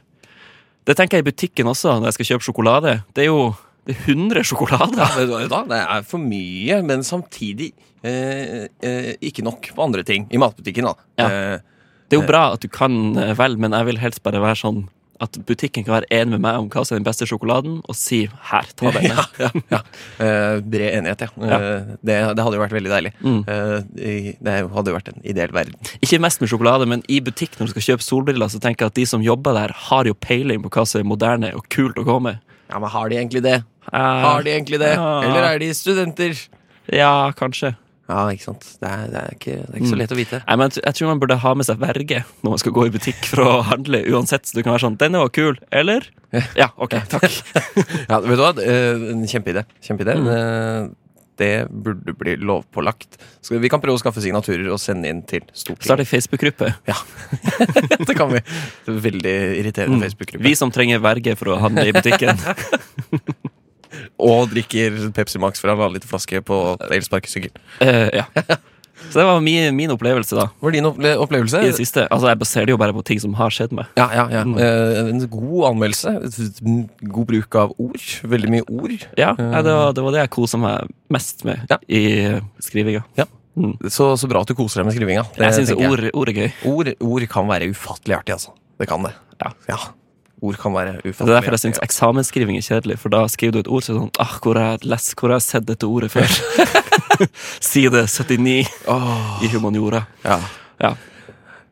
Det tenker jeg i butikken også, når jeg skal kjøpe sjokolade. Det er jo det er 100 sjokolader. Vet du hva, da? Det er for mye, men samtidig eh, eh, ikke nok på andre ting. I matbutikken, da. Ja. Eh, Det er jo bra at du kan eh, vel, men jeg vil helst bare være sånn at butikken kan være enig med meg om hva som er den beste sjokoladen, og si 'her, ta denne'. Ja, ja, ja. Eh, bred enighet, ja. Eh, det, det hadde jo vært veldig deilig. Mm. Eh, i- det hadde jo vært en ideell verden. Ikke mest med sjokolade, men i butikk når du skal kjøpe solbriller, så tenker jeg at de som jobber der, har jo peiling på hva som er moderne og kult å gå med. Ja, Men har de egentlig det? Eh, Har de egentlig det? Ja. Eller er de studenter? Eh, Ja, kanskje. Ja, ikke sant. Det er, det er, ikke, det er Mm. ikke så lett å vite. Nei, men jeg tr- jeg tror man burde ha med seg verge når man skal gå i butikk for å handle uansett. Så du kan være sånn 'Denne var kul, eller?' Ja, ok, takk. Ja, vet du hva? Eh, En kjempeidé. Kjempeidé. Mm. Eh, Det burde bli lovpålagt. Så vi kan prøve å skaffe signaturer og sende inn til Start Stortinget. ei Facebook-gruppe. Det kan vi. Det er Veldig irriterende Facebook-gruppe. Mm. Vi som trenger verge for å handle i butikken. Og drikker Pepsi Max fra en halvliter flaske på elsparkesykkel. Eh, ja. Så det var min, min opplevelse da Var det din opple opplevelse? i det siste. Altså, Jeg baserer det jo bare på ting som har skjedd meg. Ja, ja, ja. Mm. Eh, En god anmeldelse. God bruk av ord. Veldig mye ord. Ja, nei, det, var, det var det jeg kosa meg mest med Eh. Ja. i skrivinga. Mm. Så, så bra at du koser deg med skrivinga. Det Jeg syns tenker jeg. ord, ord er gøy. Ord, ord kan være ufattelig artig, altså. Det kan det. Ja. Ord kan være Det er ufattelig derfor jeg syns eksamensskriving er kjedelig, for da skriver du et ord så er det sånn ah, hvor har jeg lest, hvor har jeg sett dette ordet før? Side 79 i humaniora. Ja. Ja.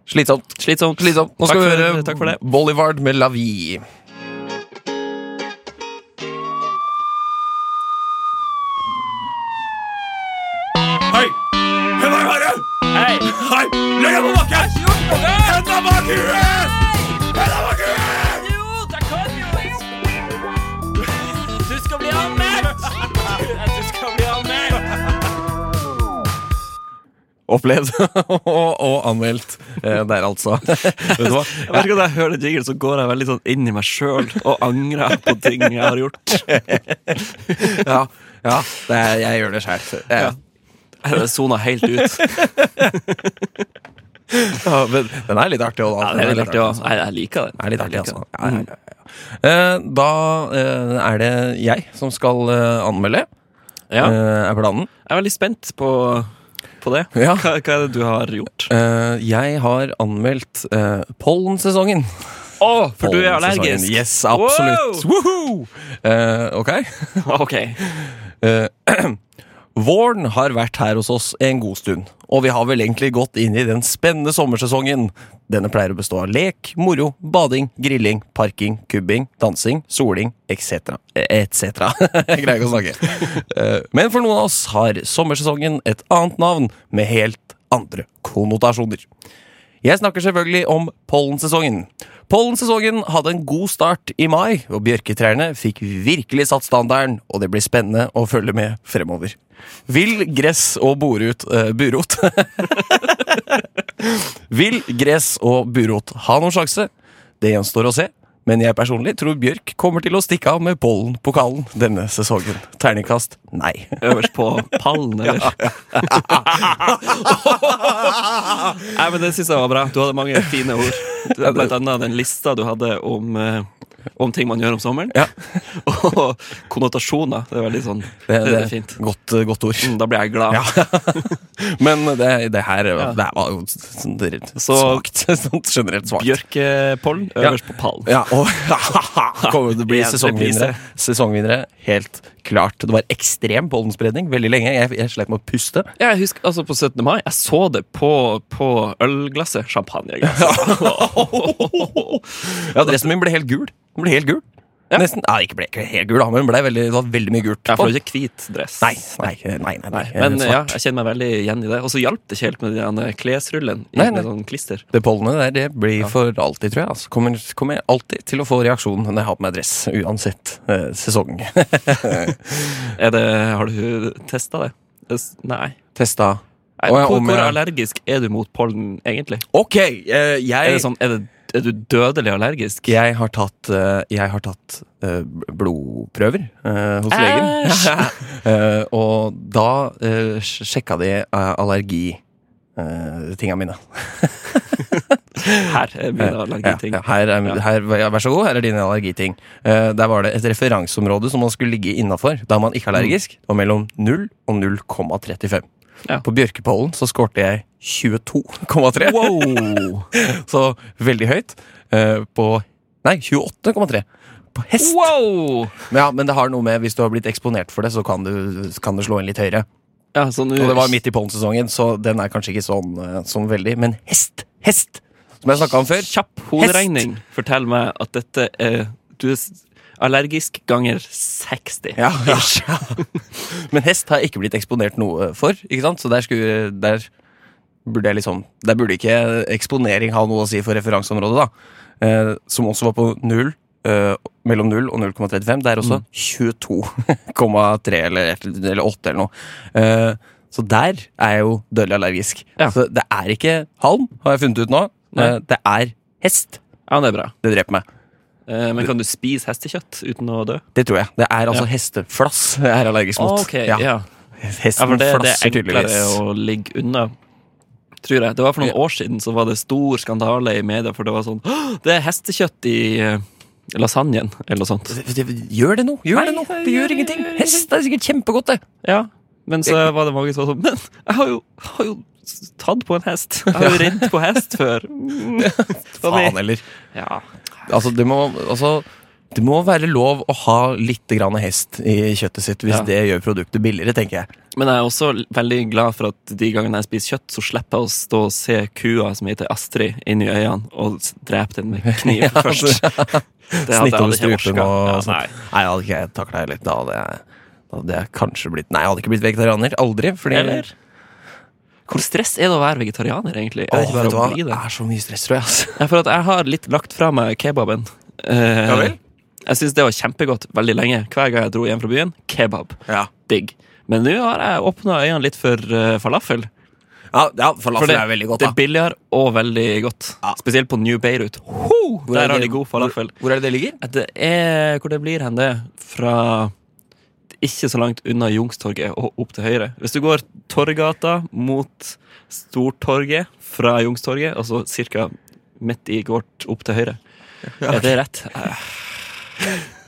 Slitsomt. Slitsomt. Slitsomt. Nå takk skal vi for, høre Takk for det. Bolivard med La Vie. Hei! Henda i været! Hei! Hei! Legg deg på bakken! Henda bak huet! Henda bak huet! Opplevd og, og anmeldt eh, der, altså. Vet du hva? Hver gang jeg hører jingle, så går jeg veldig sånn inn i meg sjøl og angrer på ting jeg har gjort. Ja, ja det er, jeg gjør det sjæl. Ja. Jeg sona helt ut. Ja, men den er litt artig òg, da. Ja, det er litt artig også. også. Nei, Jeg liker det. Det er litt artig, Jeg liker altså. det. Ja, ja, ja, ja. Eh, Da eh, er det jeg som skal eh, anmelde, Ja, eh, er planen. jeg er veldig spent på, på det. Ja. Hva, hva er det du har gjort? Eh, Jeg har anmeldt eh, pollensesongen. Å, for du er Pollensesongen. allergisk! Yes, absolutt. Woohoo! Eh, ok. Wow! Ok. Våren har vært her hos oss en god stund, og vi har vel egentlig gått inn i den spennende sommersesongen. Denne pleier å bestå av lek, moro, bading, grilling, parking, kubbing, dansing, soling, etc. etc. Jeg greier ikke å snakke. Eh, Men for noen av oss har sommersesongen et annet navn med helt andre konnotasjoner. Jeg snakker selvfølgelig om pollensesongen. Pollensesongen hadde en god start i mai, og bjørketrærne fikk virkelig satt standarden, og det blir spennende å følge med fremover. Vill gress og borut, eh, burot Vill gress og burot ha noen sjanse? Det gjenstår å se. Men jeg personlig tror Bjørk kommer til å stikke av med pollenpokalen denne sesongen. Terningkast nei. Øverst på pallen, eller? Nei, men Det syns jeg var bra. Du hadde mange fine ord. Blant annet den lista du hadde om eh, om ting man gjør om sommeren. Ja. Og konnotasjoner. Det er veldig sånn Det, det er fint. Godt, eh, godt ord. Mm, Da blir jeg glad. Men det, det her det her var jo sånn svakt. Sånn generelt svakt. Bjørkepollen øverst på pallen. Ja, og kommer det bli Igjen sesongvinnere. Sesongvinnere, Helt klart. Det var ekstrem pollenspredning veldig lenge. Jeg, jeg slet med å puste. Jeg husker altså på 17. mai. Jeg så det på, på ølglasset. Champagneglasset. Ja, Dressen min ble helt gul. Den ble helt gul. Nesten, nei, ikke ble ikke helt gul, da, men den ble veldig, det var veldig mye gult. Jeg får ikke hvit dress. Nei, nei, nei, nei, nei, Nei, men svart. ja, jeg kjenner meg veldig igjen i det. Og så hjalp det ikke helt med den der klesrullen. i Nei, nei. Med sånn klister Det pollenet der det blir for alltid, tror jeg. Altså. Kommer, kommer jeg alltid til å få reaksjon når jeg har på meg dress, uansett eh, sesong. er det, Har du testa det? Es- Nei. Testa. Nei, Å, ja, hvor, om hvor jeg- allergisk er du mot pollen, egentlig? Ok, Er, eh, jeg, det sånn, er, det, er du dødelig allergisk? jeg har tatt, eh, jeg har tatt eh, b- blodprøver eh, hos legen. Eh, og da eh, sj- sjekka de eh, allergi eh, tinga mine. Her er mine Ja, allergiting. Eh, ja, her er, Ja. her, vær vær så god, her er dine allergiting. Eh, der var det et referanseområde som man skulle ligge innafor da man ikke er allergisk. Det var mellom 0 og 0,35. Ja. På Bjørkepollen så skårte jeg 22,3. Wow! Så veldig høyt. Eh, på Nei, 28,3. På hest. wow! Men Ja, men det har noe med hvis du har blitt eksponert for det, så kan, du, kan det slå inn litt høyere. Ja, så nå- Og det var midt i pollensesongen, så den er kanskje ikke sånn, eh, sånn veldig. Men hest! Hest! Som jeg snakka om før. Kjapp hoderegning. Fortell meg at dette er Du er s- allergisk ganger 60. Ja, ja. Men hest har jeg ikke blitt eksponert noe for, ikke sant? Så der skulle Der burde jeg liksom Der burde ikke eksponering ha noe å si for referanseområdet, da. Eh, som også var på null. eh, mellom 0 og 0,35. Det er også Mm. 22,3 eller, et- eller 8 eller noe. Eh, så der er jeg jo dødelig allergisk. Ja. Så det er ikke halm, har jeg funnet ut nå. Nei. Eh, det er hest. Ja, det er bra. Det dreper meg. Eh, Men kan du spise hestekjøtt uten å dø? Det tror jeg. Det er altså hesteflass jeg er allergisk mot. ok, Ja. ja. Ja, Hesten for det, det flasser er enklere tydeligvis. å ligge unna. Tror jeg. Det var For noen år siden så var det stor skandale i media, for det var sånn «Åh, Det er hestekjøtt i eh, lasagnen, eller noe sånt. Det- det- Gjør det noe? Gjør Nei, det noe? Det det gjør gjør- ingenting. Hest er sikkert kjempegodt, det. Ja, Men så var det mange som var sånn Men jeg har jo, har jo s- tatt på en hest! Jeg har jo ridd på hest før. Mm. Faen heller. Ja. Altså, det må, altså, det må være lov å ha litt grann hest i kjøttet sitt hvis Ja. det gjør produktet billigere, tenker jeg. Men jeg er også veldig glad for at de gangene jeg spiser kjøtt, så slipper jeg å stå og se kua som heter Astrid, inn i øynene og s- drepe den med kniv først. Det hadde jeg altså, Snitt over aldri strupen orket. og Ja, sånt. Nei, jeg hadde ikke jeg takla det litt. Da hadde jeg, da hadde jeg kanskje blitt Nei, jeg hadde ikke blitt vegetarianer. Aldri. Fordi Eller? Hvor stress er det å være vegetarianer, egentlig? Er Åh, det ikke vet du bare hva? å bli Det det? er så mye stress, tror jeg. Altså. Ja, for at jeg har litt lagt fra meg kebaben. Eh, Ja vel? Jeg syns det var kjempegodt veldig lenge. Hver gang jeg dro hjem fra byen, kebab. Digg. Men nå har jeg åpna øynene litt for eh, falafel. Ja, ja, falafel For det, er veldig godt, det da. er billigere og veldig godt. Spesielt på New Beirut. Ho! er Der har det- de god falafel. Hvor er det det ligger? At Det er hvor det blir hen, det. Fra ikke så langt unna Jungstorget og opp til høyre. Hvis du går Torgata mot Stortorget fra Jungstorget, altså ca. midt i gård opp til høyre. Er det rett? Eh,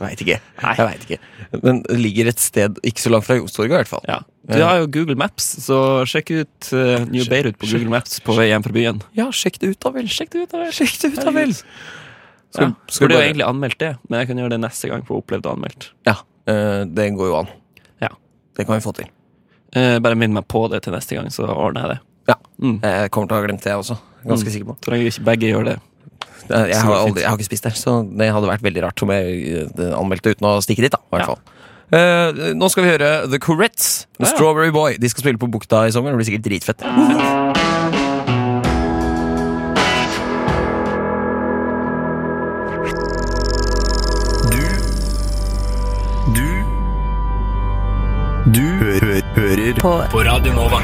Veit ikke. Nei. Jeg vet ikke. Men det ligger et sted ikke så langt fra Youngstorget, i hvert fall. Ja. Du har jo Google Maps, så sjekk ut eh, New Beirut på Google Maps på vei hjem fra byen. Ja, sjekk det ut da vel. Sjekk det ut da vel. Sjekk det ut da vel. Ja. Skal- skal Burde jo bare- egentlig anmeldt det, men jeg kan gjøre det neste gang på Opplevd og anmeldt. Ja, eh, det går jo an. Ja. Det kan vi få til. Eh, Bare minn meg på det til neste gang, så ordner jeg det. Ja. Mm. Jeg kommer til å ha glemt det, jeg også. Ganske sikker på. Så lenge ikke begge gjør det. Eh, Jeg Så har, fint. aldri, jeg har ikke spist der, så det hadde vært veldig rart om jeg eh, anmeldte uten å stikke dit, da. I hvert fall. Eh, nå skal vi høre The Corettes med Ja. Strawberry Boy. De skal spille på Bukta i sommer. Det blir sikkert dritfett. Du Du Du hø hø hører på. på Radio Nova.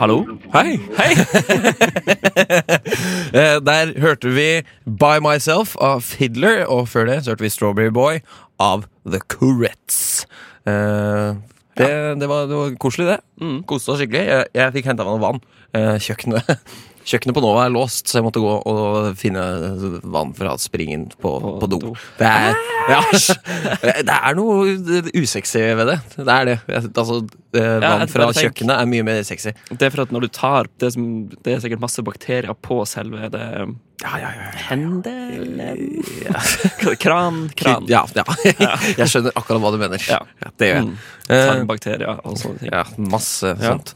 Hallo? Hei! Eh, Der hørte vi By Myself av Fiddler, og før det så hørte vi Strawberry Boy av The Corettes. Eh, det, det, var, det var koselig, det. Koste oss skikkelig. Jeg, jeg fikk henta meg noe vann. Eh, kjøkkenet, kjøkkenet på Nova er låst, så jeg måtte gå og finne vann fra springen på, på, do. do. Det, er, ja, det er noe usexy ved det. Det er det. Jeg, altså, eh, Ja, vann jeg- jeg fra tenker- kjøkkenet er mye mer sexy. Det er for at når du tar Det, som, det er sikkert masse bakterier på selve det Hendelen Kran, kran. Ja, ja. Jeg skjønner akkurat hva du mener. Ja. Det gjør jeg. Mm. Eh, Tarmbakterier og sånne ting. Ja, masse sånt.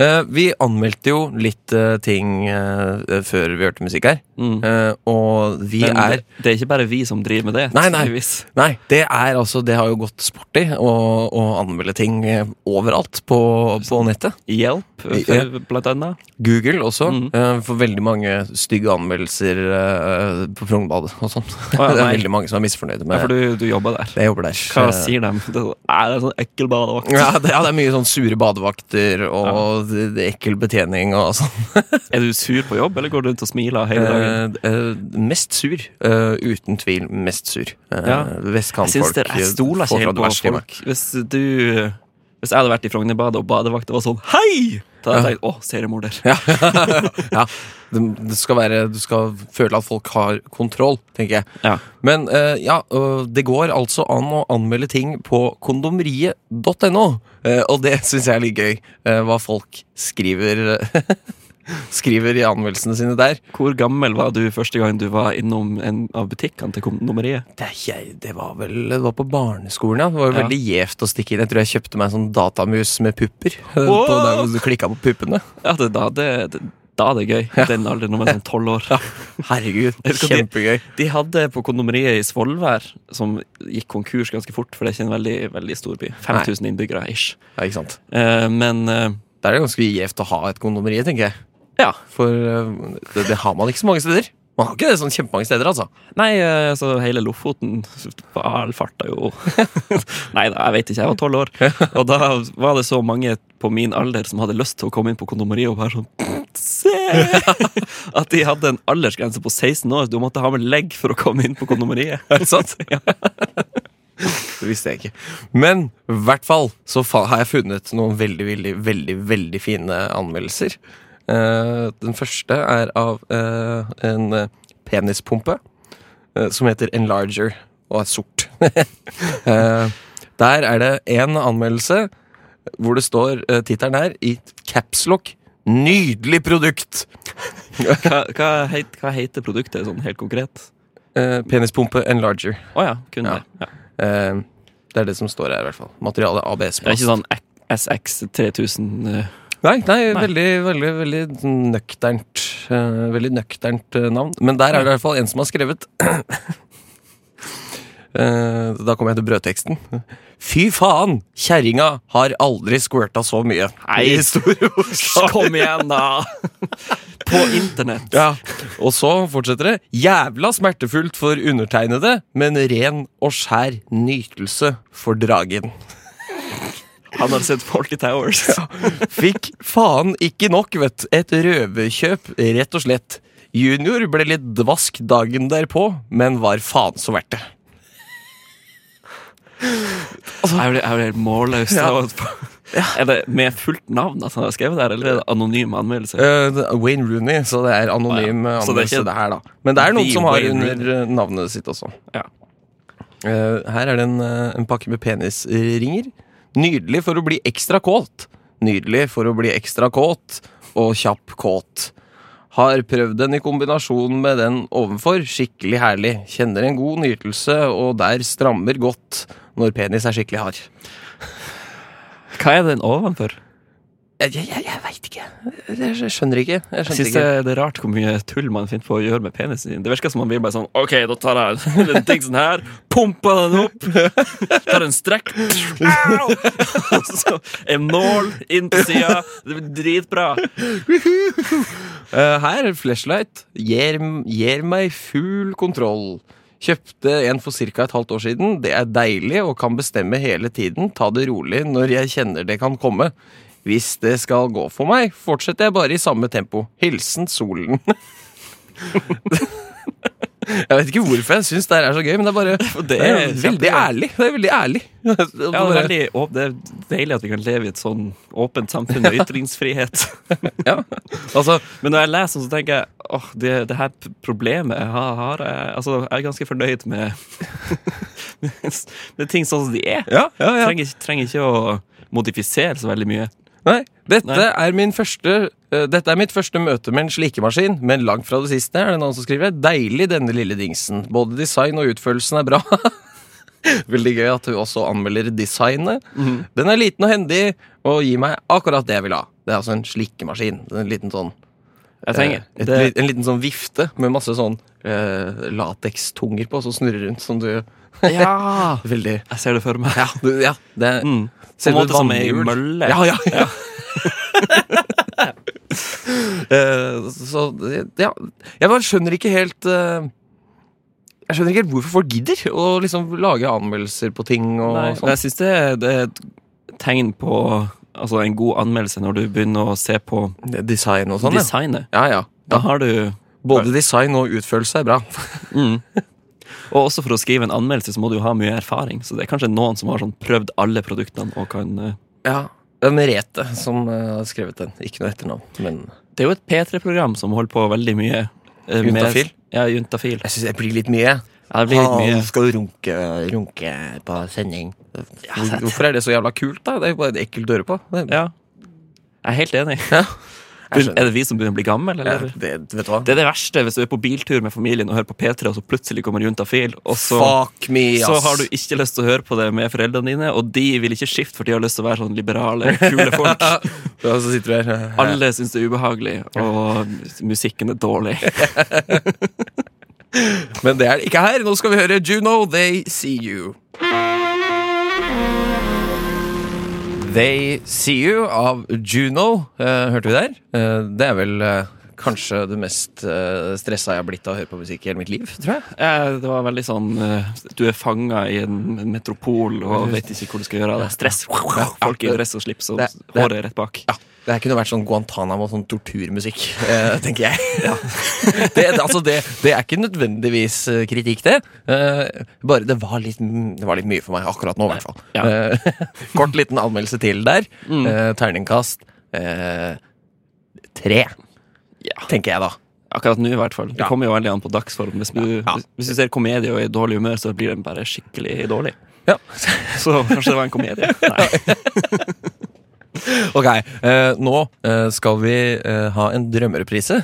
Eh, vi anmeldte jo litt eh, ting eh, før vi hørte musikk her, Mm. Eh, og vi Men er det, det er ikke bare vi som driver med det. Nei, nei. tydeligvis. Nei, det er altså Det har jo gått sporty å, å anmelde ting eh, overalt på, på nettet. Hjelp, eh, Ja. for, blant annet. Google også. Mhm. eh, for veldig mange stygge anmeldelser eh, på Frognerbadet og sånn. ja, det er nei. veldig mange som er misfornøyde Ja, med for du, du jobber der. Jeg jobber der. Hva Eh, sier de? Det er sånn, «Nei, det er sånn ekkel badevakt. ja det, ja, det er mye sånn sure badevakter og det- det ekkel betjening og sånn. Er du sur på jobb, eller går du rundt og smiler hele dagen? Eh, eh, mest sur. Eh, uten tvil mest sur. Eh, Ja. Jeg synes Vestkantfolk. det, jeg stoler får ikke helt fra eh, det på verste i meg. folk. Hvis du Hvis jeg hadde vært i Frognerbadet og badevakta var sånn Hei! Da hadde jeg tenkt å, seriemorder. Ja. ja. Det, det skal være, du skal føle at folk har kontroll, tenker jeg. Ja. Men eh, ja, øh, det går altså an å anmelde ting på kondomeriet.no. eh, og det syns jeg er litt gøy, eh, hva folk skriver Skriver i anmeldelsene sine der. Hvor gammel var du første gang du var innom en av butikkene til E? kondomeriet? Det, er jeg, det var vel det var på barneskolen, ja. Det var jo Ja. veldig gjevt å stikke inn. Jeg tror jeg kjøpte meg en sånn datamus med pupper. eh, Wow! På der hvor du klikka på puppene. Ja, det, da, det, det, da er det gøy. Den alderen når man er sånn tolv år. Herregud, Jeg husker de- kjempegøy. De hadde på kondomeriet i Svolvær, som gikk konkurs ganske fort, for det er ikke en veldig, veldig stor by. 5000 innbyggere, ish. Ja, ikke sant? Eh, men eh, Da er det ganske gjevt å ha et kondomeri, tenker jeg. ja. For eh, det, det har man ikke så mange steder. Man har ikke det sånn kjempemange steder, altså. Nei, eh, altså hele Lofoten all farta jo Nei da, jeg vet ikke. Jeg var tolv år. Og da var det så mange på min alder som hadde lyst til å komme inn på kondomeriet og være sånn Se! At de hadde en aldersgrense på 16 år. Du måtte ha med legg for å komme inn på kondomeriet. Er det sant? Ja. Det visste jeg ikke. Men i hvert fall så fa har jeg funnet noen veldig, veldig, veldig, veldig fine anmeldelser. Eh, den første er av eh, en eh, penispumpe eh, som heter Enlarger og er sort. Eh, der er det én anmeldelse hvor det står uh, tittelen her i capslock 'Nydelig produkt'! Hva, hva, heit, hva heter produktet sånn helt konkret? Eh, penispumpe Enlarger. Å ja, kun Ja. det. Ja. Eh, det er det som står her, i hvert fall. Materialet ABS. Det er ikke sånn SX 3000 eh, Nei, nei, Nei. veldig, veldig, veldig nøkternt eh, Veldig nøkternt eh, navn. Men der er det i hvert fall en som har skrevet Eh, Da kommer jeg til brødteksten. Fy faen! Kjerringa har aldri squirta så mye. Nei. I store bokstaver. Kom igjen, da! På internett. Ja. Og så fortsetter det. Jævla smertefullt for undertegnede, men ren og skjær nytelse for dragen. Han har sett Forty Towers. Fikk faen ikke nok, vet Et røverkjøp, rett og slett. Junior ble litt dvask dagen derpå, men var faen så verdt det. Jeg ble, jeg ble helt målløs. Er det med fullt navn at han har skrevet det, her, eller er det anonym anmeldelse? Eh, det er Wayne Rooney, så det er anonym eh, Så det er anmeldelse ikke det her, da. Men det er noen The som har Wayne under eh, navnet sitt også. Ja. Eh, her er det en, eh, en pakke med penisringer. Nydelig for å bli ekstra kåt. Nydelig for å bli ekstra kåt og kjapp kåt. Har prøvd den i kombinasjon med den ovenfor. Skikkelig herlig. Kjenner en god nytelse, og der strammer godt når penis er skikkelig hard. Hva er den ovenfor? Jeg, jeg, jeg- jeg veit ikke. Jeg, jeg skjønner ikke. Jeg Jeg skjønte synes det, det er rart hvor mye tull man finner på å gjøre med penisen sin. Det virker som man blir bare sånn OK, da tar jeg den tingsen her, pumper den opp, tar en strekk au! Og så En nål inn på sida. Det blir dritbra. Eh, her, flashlight. Gir, gir meg full kontroll. Kjøpte en for ca. et halvt år siden. Det er deilig og kan bestemme hele tiden. Ta det rolig når jeg kjenner det kan komme. Hvis det skal gå for meg, fortsetter jeg bare i samme tempo. Hilsen solen. Jeg vet ikke hvorfor jeg syns det her er så gøy, men det er bare det er er veldig kjempegøy. ærlig. Det er veldig ærlig. Ja, det, er veldig, åp- det er deilig at vi kan leve i et sånn åpent samfunn med ytringsfrihet. ja. Altså, Men når jeg leser den, så tenker jeg åh, det, det her p- problemet jeg har, har jeg, altså, jeg er ganske fornøyd med, med, ting sånn som de er. ja, ja, ja. Trenger, ikke- trenger ikke å modifisere så veldig mye. Nei, dette Nei. er min første eh, Dette er mitt første møte med en slikemaskin, men langt fra det siste er det noen som skriver Deilig denne lille dingsen. Både design og utførelsen er bra. Veldig gøy at du også anmelder designet. Mhm. Den er liten og hendig og gir meg akkurat det jeg vil ha. Det er altså en slikemaskin. Det er En liten sånn Jeg tenker, eh, et, det, li- En liten sånn vifte med masse sånn eh, latekstunger på som snurrer rundt, som du ja, Veldig jeg ser det for meg. Ja, du, ja det er Mm. Ser På en ut måte som ei vannhjul. mølle. Ja, ja, ja. Eh, så ja. Jeg bare skjønner ikke helt eh, Jeg skjønner ikke helt hvorfor folk gidder å liksom lage anmeldelser på ting og sånn. Nei, sånt. jeg syns det, er- det er et tegn på altså, en god anmeldelse når du begynner å se på Design og sånn, ja. designet. ja, ja. Da har du Både design og utførelse er bra. Mm. Og også for å skrive en anmeldelse så må du jo ha mye erfaring. Så det er kanskje noen som har sånn prøvd alle produktene og kan eh, Ja. Det er Merete som eh, har skrevet den. Ikke noe etternavn. Men Det er jo et P3-program som holder på veldig mye. eh, med- Juntafil? Ja, juntafil. jeg syns jeg blir litt mye. Ja, det blir litt mye. skal runke, runke på sending. Hvor- Hvorfor er det så jævla kult, da? Det er jo bare ekkelt å høre på. Det er, Ja. Jeg er helt enig. jeg Er det vi som begynner å bli gamle, eller? Ja, det, vet du hva? Det er det verste hvis du er på biltur med familien og hører på P3, og så plutselig kommer juntafil, og så, Fuck me, ass. så har du ikke lyst til å høre på det med foreldrene dine, og de vil ikke skifte, for de har lyst til å være sånn liberale, kule folk. Ja, så sitter du her. Alle syns det er ubehagelig, og musikken er dårlig. Men det er det ikke her. Nå skal vi høre Juno, They See You. They See You av Juno. Eh, hørte vi der? Eh, det er vel eh, kanskje det mest uh, stressa jeg har blitt av å høre på musikk i hele mitt liv, tror jeg. Eh, Det var veldig sånn eh, Du er fanga i en en metropol og vet ikke hvor du skal gjøre av deg. Stress. Folk i dress og slips, og Det- det- håret er rett bak. Det her kunne vært sånn Guantánamo, sånn torturmusikk, eh, tenker jeg. det, det, altså det, det er ikke nødvendigvis eh, kritikk, det. Eh, bare det var, litt, det var litt mye for meg akkurat nå, i hvert fall. Ja. Mm. Eh, kort liten anmeldelse til der. Eh, terningkast eh, tre, Ja. tenker jeg da. Akkurat nå, i hvert fall. Det Ja. kommer jo veldig an på dagsform. Hvis du, Ja. hvis- hvis du ser komedie og er i dårlig humør, så blir den bare skikkelig dårlig. Ja. Så kanskje det var en komedie. Nei. Ok, eh, nå eh, skal vi eh, ha en drømmereprise.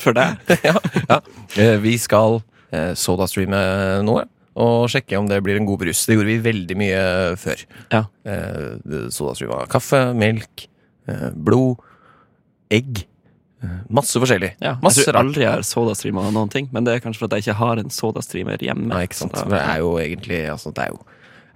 For deg. ja, ja. Eh, vi skal eh, sodastreame noe. Og sjekke om det blir en god brus. Det gjorde vi veldig mye før. Ja. Eh, det- sodastream av kaffe, melk, eh, blod, egg. eh, Masse forskjellig. Ja. Jeg Masse tror rart. aldri jeg har sodastreama av noen ting, men det er kanskje fordi jeg ikke har en sodastreamer hjemme. Nei, ikke sant? Så For da- Det er jo egentlig altså, det er jo,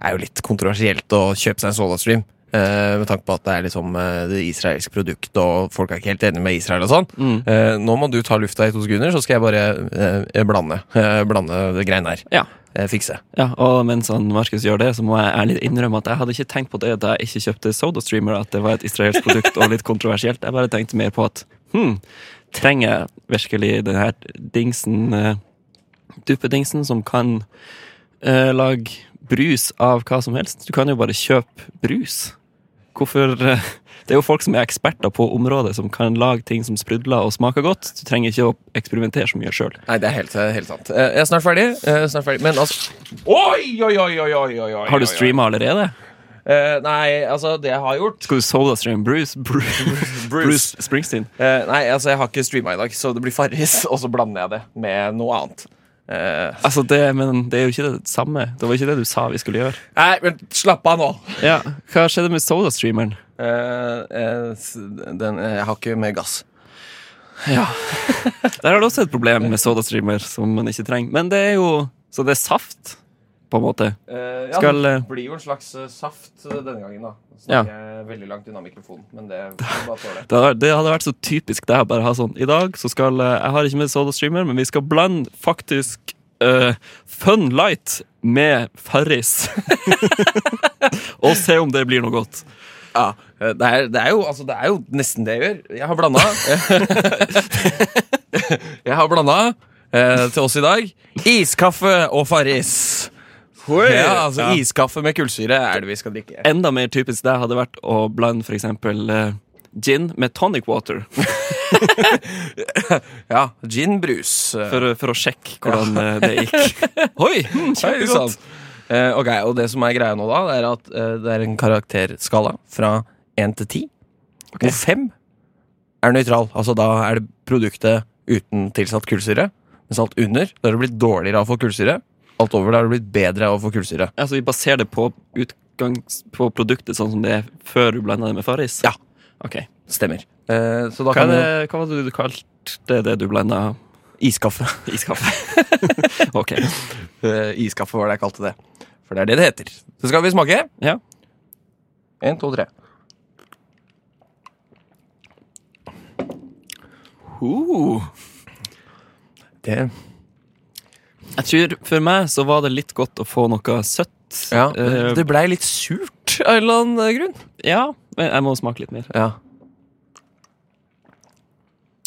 er jo litt kontroversielt å kjøpe seg en sodastream. eh, med tanke på at det er liksom eh, det israelske produktet, og folk er ikke helt enige med Israel og sånn. Mm. Eh, nå må du ta lufta i to sekunder, så skal jeg bare eh, blande, eh, blande det greiene her. Ja. Eh, fikse. Ja, og mens han Markus gjør det, så må jeg ærlig innrømme at jeg hadde ikke tenkt på det da jeg ikke kjøpte SodaStreamer, at det var et israelsk produkt og litt kontroversielt. Jeg bare tenkte mer på at hm, trenger jeg virkelig den her dingsen, eh, duppedingsen, som kan eh, lage brus av hva som helst? Du kan jo bare kjøpe brus. Hvorfor eh, Det er jo folk som er eksperter på området, som kan lage ting som sprudler og smaker godt. Du trenger ikke å eksperimentere så mye sjøl. Nei, det er helt, helt sant. Eh, Jeg er snart ferdig. eh, Snart ferdig. Men altså Oi, oi, oi, oi, oi, oi, oi. Har du streama allerede? Eh, Nei, altså, det jeg har gjort Skal du SodaStream Bruce? Bruce. Bruce Springsteen. Eh, Nei, altså, jeg har ikke streama i dag, så det blir Farris, og så blander jeg det med noe annet. Eh, Altså det, men det er jo ikke det samme. Det var ikke det du sa vi skulle gjøre. Nei, men slapp av nå. Ja, Hva skjedde med SodaStreameren? Eh, eh, s- Den, eh, jeg har ikke med gass. Der har du også et problem med SodaStreamer som man ikke trenger. Men det er jo Så det er saft, på en måte. Eh, ja, Skal eh, Det blir jo en slags eh, saft eh, denne gangen, da. Nå Ja. snakker jeg veldig langt unna mikrofonen, men det får bare tåle. det hadde, det hadde vært så typisk deg å bare ha sånn I dag så skal eh, Jeg har ikke med SodaStreamer, men vi skal blande faktisk eh, Fun Light med Farris. Og se om det blir noe godt. Ja, eh, det er, det, er jo, altså, det er jo nesten det jeg gjør. Jeg har blanda. jeg har blanda eh, til oss i dag. Iskaffe og Farris. Ja, altså Iskaffe med kullsyre er det vi skal drikke. Enda mer typisk deg hadde vært å blande for eksempel eh, gin med tonic water Ja, Gin brus. eh, for, for å sjekke hvordan eh, det gikk. Oi! hmm, Hei, sant. Eh, ok, Og det som er greia nå, da, det er at eh, det er en karakterskala fra 1 til 10. Hvor 5 er nøytral. Altså da er det produktet uten tilsatt kullsyre. Mens alt under, da har det blitt dårligere av å få kullsyre. Alt over, da har det blitt bedre av å få kullsyre. Altså, vi baserer det på utgangs... På produktet sånn som det er før du blander det med Farris? Ja. Ok. Stemmer. Eh, så Hva, da er kan det det, hva var det du kalte det du blanda Iskaffe. iskaffe? ok. Eh, iskaffe var det jeg kalte det. For det er det det heter. Så skal vi smake. Ja. En, to, tre. Uh. Det Jeg tror for meg så var det litt godt å få noe søtt. Ja, Eh, det blei litt surt av en eller annen grunn. ja, men jeg må smake litt mer. Ja.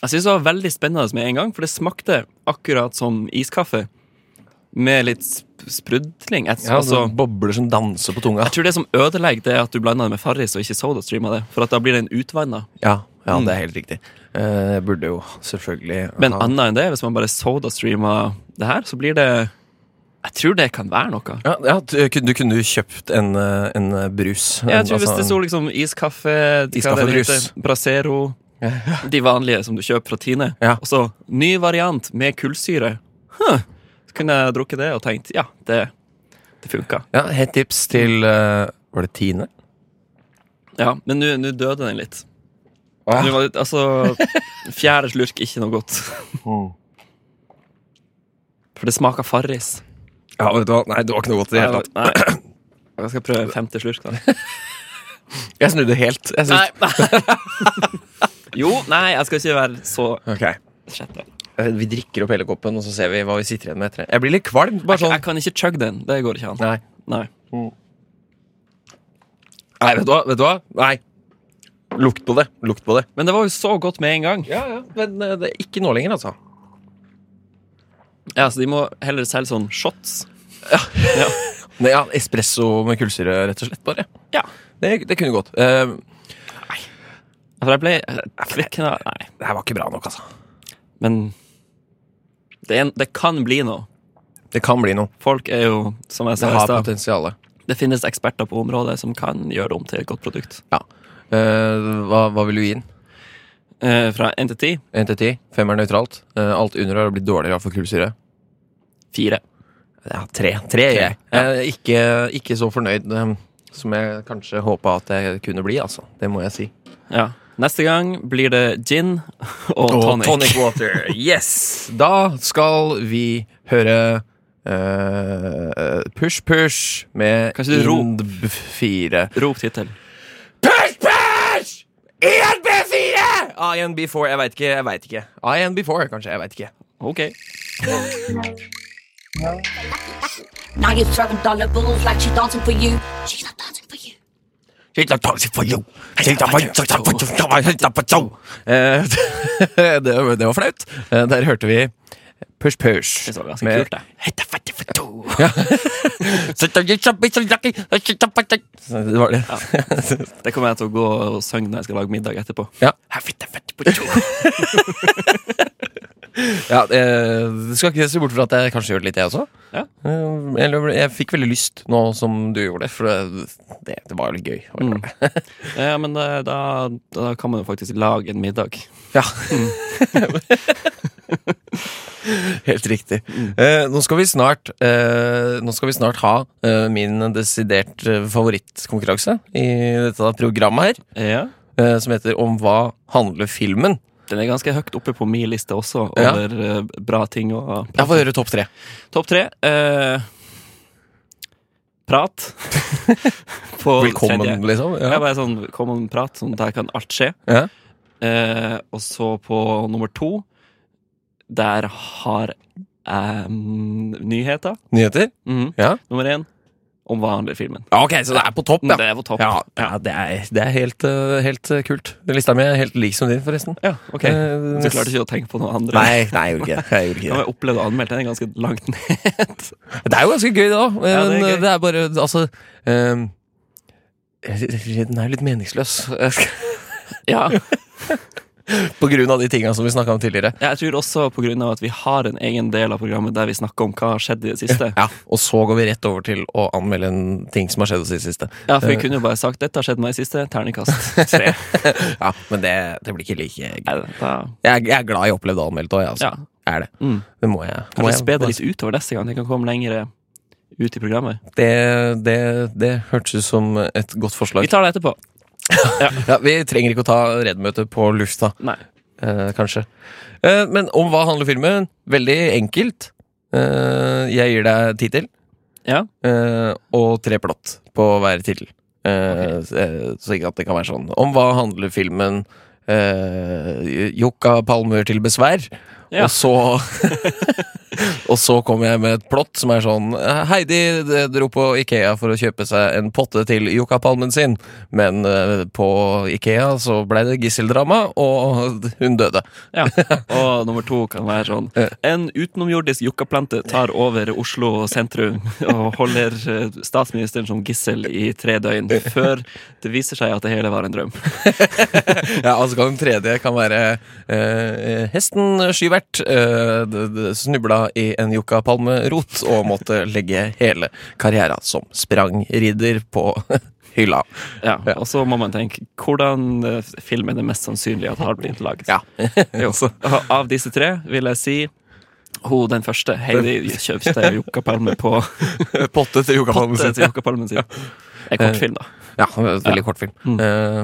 Jeg synes det var veldig spennende med en gang, for det smakte akkurat som iskaffe. Med litt sp- sprudling. Jeg, altså, bobler som danser på tunga. jeg tror det som ødelegger, det er at du blander det med Farris og ikke sodastreamer det. For at da blir den utvanna. Ja, ja det er helt riktig. Eh, Jeg burde jo selvfølgelig Men ha- annet enn det, hvis man bare sodastreamer det her, så blir det Jeg tror det kan være noe. ja, ja, du kunne- du kunne jo kjøpt en, eh, en eh, brus. Jeg tror En- altså Hvis det en- sto liksom iskaffe, Iskaffe hva det brus. heter, Bracero De vanlige som du kjøper fra Tine. Ja. Og så ny variant med kullsyre. Huh. Så kunne jeg drukket det og tenkt ja, det, det funka. Ja, Helt tips til eh, Var det Tine? Ja, men nå nå døde den litt. Å, ja. Nå var det, altså, fjerde slurk, ikke noe godt. Mm. For det smaker Farris. Ja, vet du hva? Nei, det var ikke noe godt i det hele tatt. Nei. Jeg skal prøve femte slurk, da. Jeg snudde helt. Jeg synes, Jo, nei, jeg skal ikke være så Ok. sjette. Eh, Vi drikker opp hele koppen, og så ser vi hva vi sitter igjen med etter det. Jeg blir litt kvalm. bare Jeg, sånn jeg kan ikke chugge den. Det går ikke an. Nei. Nei. Nei, vet du hva? Vet du hva? Nei. Lukt på det. Lukt på det. Men det var jo så godt med en gang. Ja, ja, Men eh, det er ikke nå lenger, altså. Ja, så De må heller selge sånn shots. Nei, ja, Espresso med kullsyre, rett og slett. bare Ja. Det, det kunne gått. Eh, For jeg ble jeg kvikna Nei. det her var ikke bra nok, altså. Men det, er en, det kan bli noe. Det kan bli noe. Folk er jo, som jeg Det sa i har stad potensial. Det finnes eksperter på området som kan gjøre det om til et godt produkt. Ja. Eh, hva, hva vil du gi den? Eh, fra 1 til 10 1 til 10? Fem er nøytralt. Eh, alt under har blitt dårligere av for kullsyre. 4. Ja, tre. Tre, gir jeg. Eh, ikke, ikke så fornøyd eh, som jeg kanskje håpa at jeg kunne bli, altså. Det må jeg si. Ja. Neste gang blir det gin og tonic. water. Yes! Da skal vi høre eh, Push Push med Kanskje du rop? Ind 4. Rop tittel. Push Push! E INB4! INB4, jeg veit ikke. jeg vet ikke INB4, kanskje. Jeg veit ikke. OK. Now you're throwing dollar bills like she's dancing for you. She's not dancing for you. Eh, det, det var flaut. Eh, Der hørte vi Push Push. Det så ganske med- kult, det. Det var det. Det kommer jeg til å gå og synge når jeg skal lage middag etterpå. Ja. ja, eh, du skal ikke se bort fra at jeg kanskje gjør det litt, jeg også. Ja. Eh, Eller jeg fikk veldig lyst nå som du gjorde det, for det, det, det var jo litt gøy. å gjøre det. Ja, men eh, da, da kan man jo faktisk lage en middag. Ja. Helt riktig. Eh, nå, skal vi snart, eh, nå skal vi snart ha eh, min desidert eh, favorittkonkurranse i dette programmet her, Ja. eh, som heter Om hva handler filmen? Den er ganske høyt oppe på min liste også, Ja. over eh, bra ting og Jeg får høre topp tre. Topp tre. eh, prat. På Velkommen, tredje. liksom. Ja. Ja. Bare sånn, kom og prat, sånn der kan alt skje. Ja. Eh, og så på nummer to, der har jeg mm, nyheter. Nyheter? Mhm. Ja. Nummer én, om hva handler filmen. Ja, Ok, så det er på topp, ja. Det er på topp. Ja, ja, det er, det er helt, eh, helt eh, kult. Den Lista mi er helt lik som din, forresten. Ja, ok. Eh, Så klarte ikke å tenke på noe andre. Nei, nei, jeg gjorde ikke det. Jeg gjorde Jeg ikke har det. opplevd å anmelde den ganske langt ned. det er jo ganske gøy, det òg. Men Ja, det er det gøy. er, bare Altså ehm, Den er jo litt meningsløs. eh, Ja, På grunn av de tinga som vi snakka om tidligere. jeg tror også på grunn av at vi har en egen del av programmet der vi snakker om hva har skjedd i det siste. Ja, Og så går vi rett over til å anmelde en ting som har skjedd oss i det siste. Ja, for vi kunne jo bare sagt 'dette har skjedd meg i siste'. Terningkast tre. Ja, Men det, det blir ikke like Nei, Jeg, da- jeg er glad jeg opplevde anmeldt òg, jeg. Altså. Ja. Jeg Er det. Mm. Det må jeg. må Kanskje jeg- spre det litt utover neste gang. Det kan komme lenger ut i programmet. Det, det, det hørtes ut som et godt Vi forslag. tar det etterpå. Ja, vi trenger ikke å ta Redd-møtet på lufta, Nei. eh, kanskje. Eh, men om hva handler filmen? Veldig enkelt. Eh, jeg gir deg tittel Ja. eh, og tre plott på hver tittel. Eh, s- eh, Så ikke at det kan være sånn. Om hva handler filmen? Eh, Jokka palmer til besvær. Ja. Og så Og så kommer jeg med et plott som er sånn eh, Heidi eh, dro på Ikea for å kjøpe seg en potte til Jokka-palmen sin, men eh, på Ikea så ble det gisseldrama, og hun døde. ja. Og nummer to kan være sånn En utenomjordisk jokkaplante tar over Oslo sentrum og holder eh, statsministeren som gissel i tre døgn, før det viser seg at det hele var en drøm. Ja, altså kan Den tredje kan være eh, hesten skyvert eh, d- d- snubla i en yuccapalmerot og måtte legge hele karrieren som sprangridder på hylla. Ja. Og så må man tenke hvordan eh, film er det mest sannsynlig at har blitt laget. Ja. Jo. Og av disse tre vil jeg si hun den første. Heidi kjøpte jokkapalme på Potte til yuccapalmen potte til jokkapalmen sin. En kortfilm, da. Ja, det var en veldig kort film. Eh,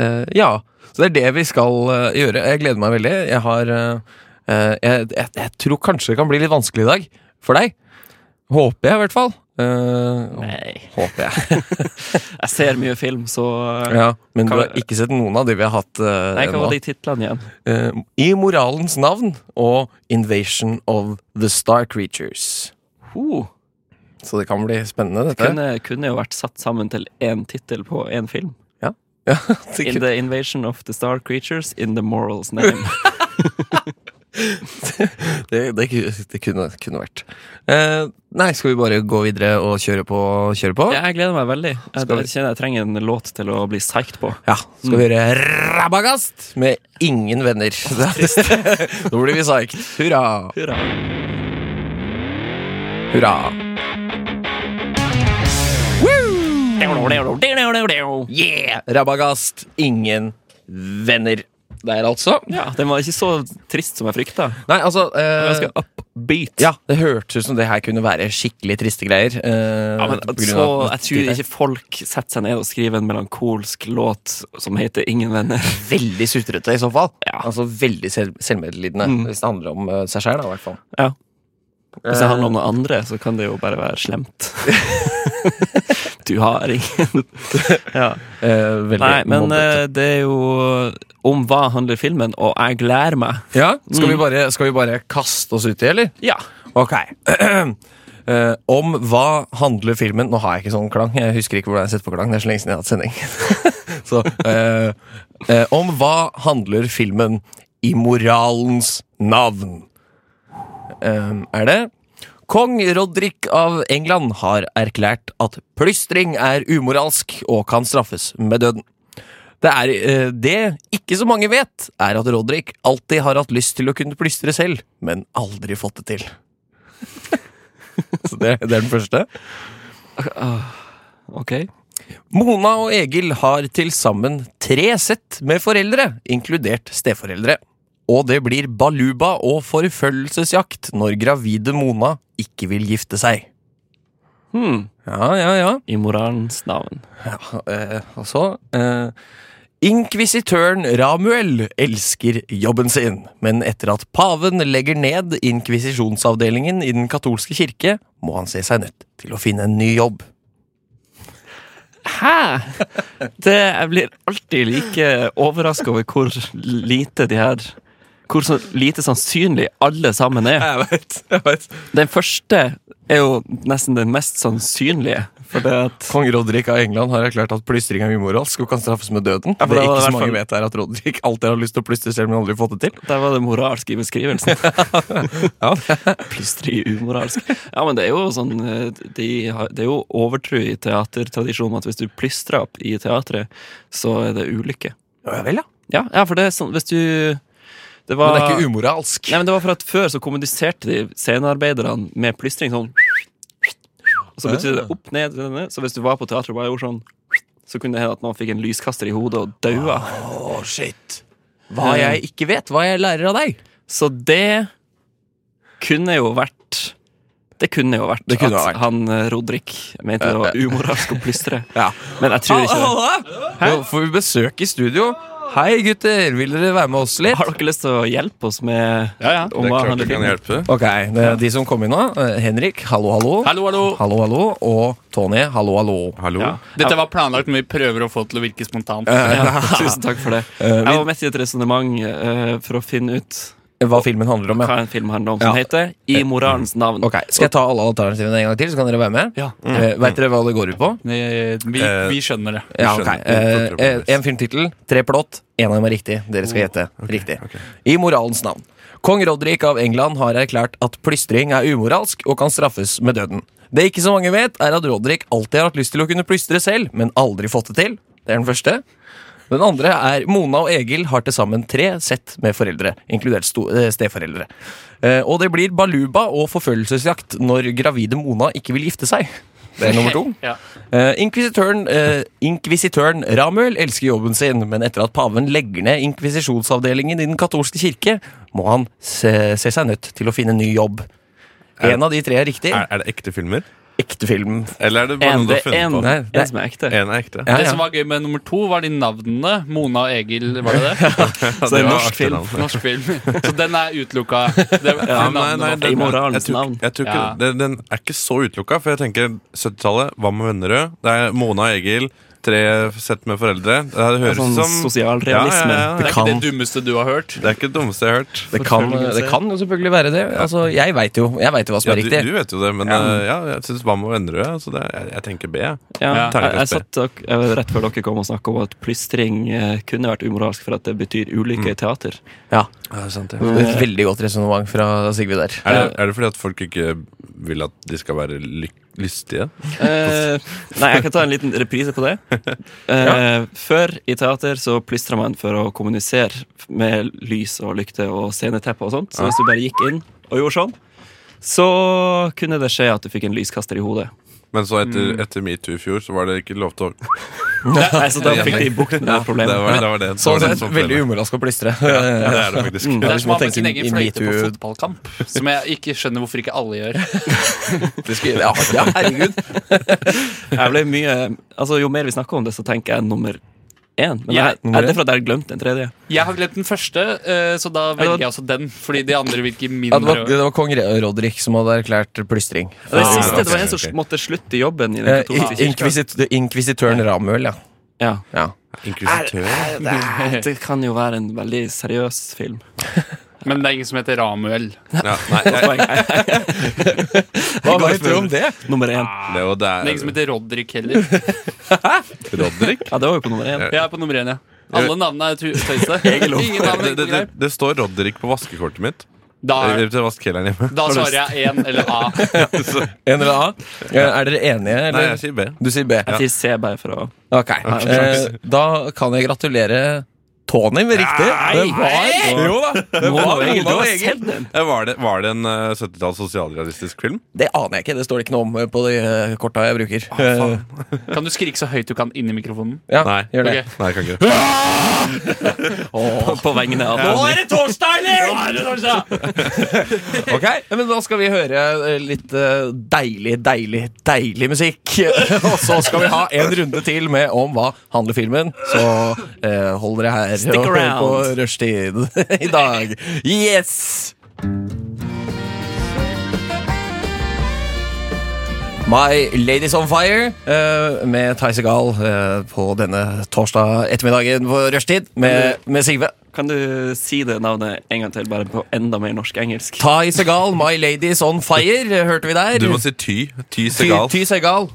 eh, ja, så det er det vi skal eh, gjøre. Jeg gleder meg veldig. Jeg har eh, eh, jeg, jeg, jeg tror kanskje det kan bli litt vanskelig i dag. For deg. Håper jeg, i hvert fall. Eh, Håper jeg. Jeg ser mye film, så eh, Ja, men du Kan har vi- ikke sett noen av de vi har hatt eh, Nei, hva nå. var de titlene igjen? Eh, I moralens navn og Invasion of the Star Creatures. Ho, Så det kan bli spennende, dette. kunne, kunne jo vært satt sammen til én tittel på én film. Ja, det In kunne- the Invasion of the Star Creatures in the Morals Name. det, det, ku- det kunne, kunne vært. Eh, nei, skal vi bare gå videre og kjøre på? Kjøre på? Jeg gleder meg veldig. Jeg, Skal vi- jeg kjenner jeg trenger en låt til å bli psyched på. Ja, Mm. skal vi gjøre Rabagast med ingen venner. Nå blir vi psyched. Hurra! Hurra. Hurra! Yeah! Rabagast, ingen venner. Der, altså. Ja, den var ikke så trist som jeg frykta. Nei, altså eh, Ganske upbeat. Ja, det hørtes ut som det her kunne være skikkelig triste greier. eh, Ja, men på grunn så, av- jeg tror ikke folk setter seg ned og skriver en melankolsk låt som heter 'Ingen venner'. Veldig sutrete, i så fall. Ja. Altså Veldig selv selvmedlidende, hvis det handler om eh, seg sjæl, i hvert fall. Ja. Hvis det handler om noe andre, så kan det jo bare være slemt. du har ingen ja. Eh, veldig Nei, men mobbete. eh, det er jo eh, om hva handler filmen, og jeg gleder meg. ja, skal, vi bare, skal vi bare kaste oss uti, eller? Ja. Ok. Eh, om hva handler filmen Nå har jeg ikke sånn klang. Jeg husker ikke hvordan jeg setter på klang. Det er så lenge siden jeg har hatt sending. så, eh, eh, om hva handler filmen i moralens navn? Eh, er det Kong Rodrik av England har erklært at plystring er umoralsk og kan straffes med døden. Det, er, eh, det ikke så mange vet, er at Rodrik alltid har hatt lyst til å kunne plystre selv, men aldri fått det til. Så det, det er den første. Ok. Mona og Egil har til sammen tre sett med foreldre, inkludert steforeldre. Og det blir baluba og forfølgelsesjakt når gravide Mona ikke vil gifte seg. Hmm. Ja, ja, ja. I moralens navn. ja eh, og så eh, Inkvisitøren Ramuel elsker jobben sin, men etter at paven legger ned inkvisisjonsavdelingen i den katolske kirke, må han se seg nødt til å finne en ny jobb. Hæ?! Det, jeg blir alltid like overraska over hvor lite de her hvor så lite sannsynlig alle sammen er. Jeg vet, jeg vet. Den første er jo nesten den mest sannsynlige. For det at Kong Rodrik av England har erklært at plystring er umoralsk og kan straffes med døden. for det det var er i ikke så hvert mange fall- vet er at Rodrik alltid har lyst til å plystre selv, men aldri fått det til. der var det moralsk i beskrivelsen. Ja, Plystring umoralsk. Ja, men det er jo sånn eh, de har, Det er jo overtro i teatertradisjonen at hvis du plystrer opp i teatret, så er det ulykke. vel, ja. Ah. Ja, ja for det er sånn Hvis du det var, Men det er ikke umoralsk. Nei, men det var for at Før så kommuniserte de scenearbeiderne med plystring sånn Og så betydde det Ah. opp, ned, ned, ned. Så hvis du var på teatret og bare gjorde sånn så kunne det hende at noen fikk en lyskaster i hodet og daua. Å, shit. Eh. Hva jeg ikke vet, hva jeg lærer av deg. Så det kunne jo vært Det kunne jo vært Det kunne at vært. Eh, han eh, Rodrik mente det var umoralsk å plystre. Ja. Men jeg Ah, tror ikke det. Ah, Nå får vi besøk i studio. Hei, gutter. Vil dere være med oss litt? Har dere lyst til å hjelpe oss med om Det hva er klart han jeg kan vil? hjelpe. Ok, det er De som kom inn nå. eh, Henrik, hallo, hallo. Hallo, hallo. Hallo, hallo. Og Tony, hallo, hallo. Eh, Hallo? Ja. Dette var planlagt, men vi prøver å få det til å virke spontant. Ja, tusen takk for det. Jeg var midt i et resonnement eh, for å finne ut Hva filmen handler om, ja. Eh, mm. hva en film handler om, som heter I moralens navn. Ok, Skal jeg ta alle alternativene en gang til, så kan dere være med? Ja. Eh, Vet dere hva det går ut på? Vi, vi, vi skjønner det. eh, Ja, ok. skjønner. Eh, Vi eh, prøver. en filmtittel, tre plott, én av dem er riktig. Dere skal gjette riktig. I moralens navn. Kong Rodrik av England har erklært at plystring er umoralsk og kan straffes med døden. Det ikke så mange vet, er at Rodrik alltid har hatt lyst til å kunne plystre selv, men aldri fått det til. Det er den første. Den andre er Mona og Egil har til sammen tre sett med foreldre, inkludert sto- eh, steforeldre. Eh, Og det blir baluba og forfølgelsesjakt når gravide Mona ikke vil gifte seg. Det er nummer to. Ja. Eh, Inkvisitøren, eh, inkvisitøren Ramuel elsker jobben sin, men etter at paven legger ned inkvisisjonsavdelingen i den katolske kirke, må han se, se seg nødt til å finne ny jobb. En av de tre er riktig. Er, er det ekte filmer? Ekte film. Eller er det bare En, noe du det har funnet en, på? Nei, det- en som er ekte. En er ekte. Ja, Det ja. som var gøy med nummer to, var de navnene. Mona og Egil, var det det? Ja, Så det er var norsk artig film. navn. Norsk film. Så den er utelukka. Det, det Ja, navnet nei, nei, var- den, I moralens jeg tror ikke- navn. Jeg tror ikke, Ja. den, den er ikke så utelukka, for jeg tenker 70-tallet, hva med Vennerød? Det er Mona og Egil, tre sett med foreldre. Det her høres Sånn ut som sosialrealisme. Ja, ja, ja. det er ikke kan- det dummeste du har hørt. Det er ikke det dummeste jeg har hørt. Det kan, det kan jo selvfølgelig være det. Altså, jeg veit jo, jeg vet jo hva som Ja, er du, riktig. du vet jo det, men eh, ja, jeg syns hva med Vennerød? Så det, jeg, jeg tenker B. jeg. Ja, Ja. jeg, jeg Terningkast B. satt og, eh, rett før dere kom og snakket om at plystring eh, kunne vært umoralsk for at det betyr Mm. ulykke i teater. Ja, Ja, det er sant, ja. det er Et veldig godt resonnement fra Sigve der. Er det, er det fordi at folk ikke vil at de skal være lyk lystige? Eh, nei, jeg kan ta en liten reprise på det. Eh, Før i teater så plystra man for å kommunisere med lys og lykte og sceneteppe og sånt. Så hvis du bare gikk inn og gjorde sånn, så kunne det skje at du fikk en lyskaster i hodet. Men så etter, etter metoo i fjor, så var det ikke lov til å Nei, så da fikk de bukt med det Det problemet. var det. Var det, det, Sånn var det sett, som veldig problemet. umoralsk å plystre. Ja, det er det faktisk. Det er hvis som man å ha med sin tenker egen i fløyte på metoo- fotballkamp. Som jeg ikke skjønner hvorfor ikke alle gjør. Ja, ja, herregud. Jeg ble mye, altså Jo mer vi snakker om det, så tenker jeg nummer én. Men Ja, jeg, jeg, det er for at jeg har glemt den tredje. Jeg har glemt den første, eh, så da velger jeg også den. Fordi de andre virker Ja, det, var, mindre det var kong Rodrik som hadde erklært plystring. Det Ah, siste det var ok, en som ok. måtte slutte i jobben i den Eh, katolske i- Inkvisit inkvisitøren Ramuel, ja. Ja. ja. Inkvisitør. Nei, Det kan jo være en veldig seriøs film. Men det er ingen som heter Ramuel. Ja, nei, jeg, Hva vet du om det? Nummer én. det, og det Det er ingen som er heter Rodrik heller. Rodrik. Ja, det var jo på nummer én. Jeg er på nummer én, ja. Alle navnene er tø- tøyste. Ingen navn er Det, det, det, greit. det står Rodrik på vaskekortet mitt. Da, Eh, er- Til vaskekjelleren hjemme. Ah, da svarer jeg én eller A. En eller annen? Eh, Er dere enige? Eller? Nei, jeg sier B. Du sier B. Jeg sier C bare for å Ok. Eh, da kan jeg gratulere Tony med riktig. Det var Jo da! Det Nå var har jeg Hilde og egentlig Egil. sett den! Eh, Var det, var det en eh, 70-talls sosialrealistisk film? Det aner jeg ikke. Det står det ikke noe om eh, på de eh, korta jeg bruker. Eh, Kan du skrike så høyt du kan inni mikrofonen? ja, Nei. gjør det. Ok. Nei, jeg kan ikke det. På, på vegne av Tony. det torsdag, eller?! Ok, men Da skal vi høre eh, litt eh, deilig, deilig, deilig musikk. Og så skal vi ha en runde til med om hva handler filmen. Så eh, hold dere her Stick og hør på around. rushtid i dag. Yes! My Ladies On Fire eh, med Theise Gahl eh, på denne torsdag ettermiddagen på rushtid med, med Sigve. Kan du si det navnet en gang til, bare på enda mer norsk-engelsk? Tai Segal, My Ladies On Fire, hørte vi der. Du må si Ty. Ty Ty, Segal. ty Segal.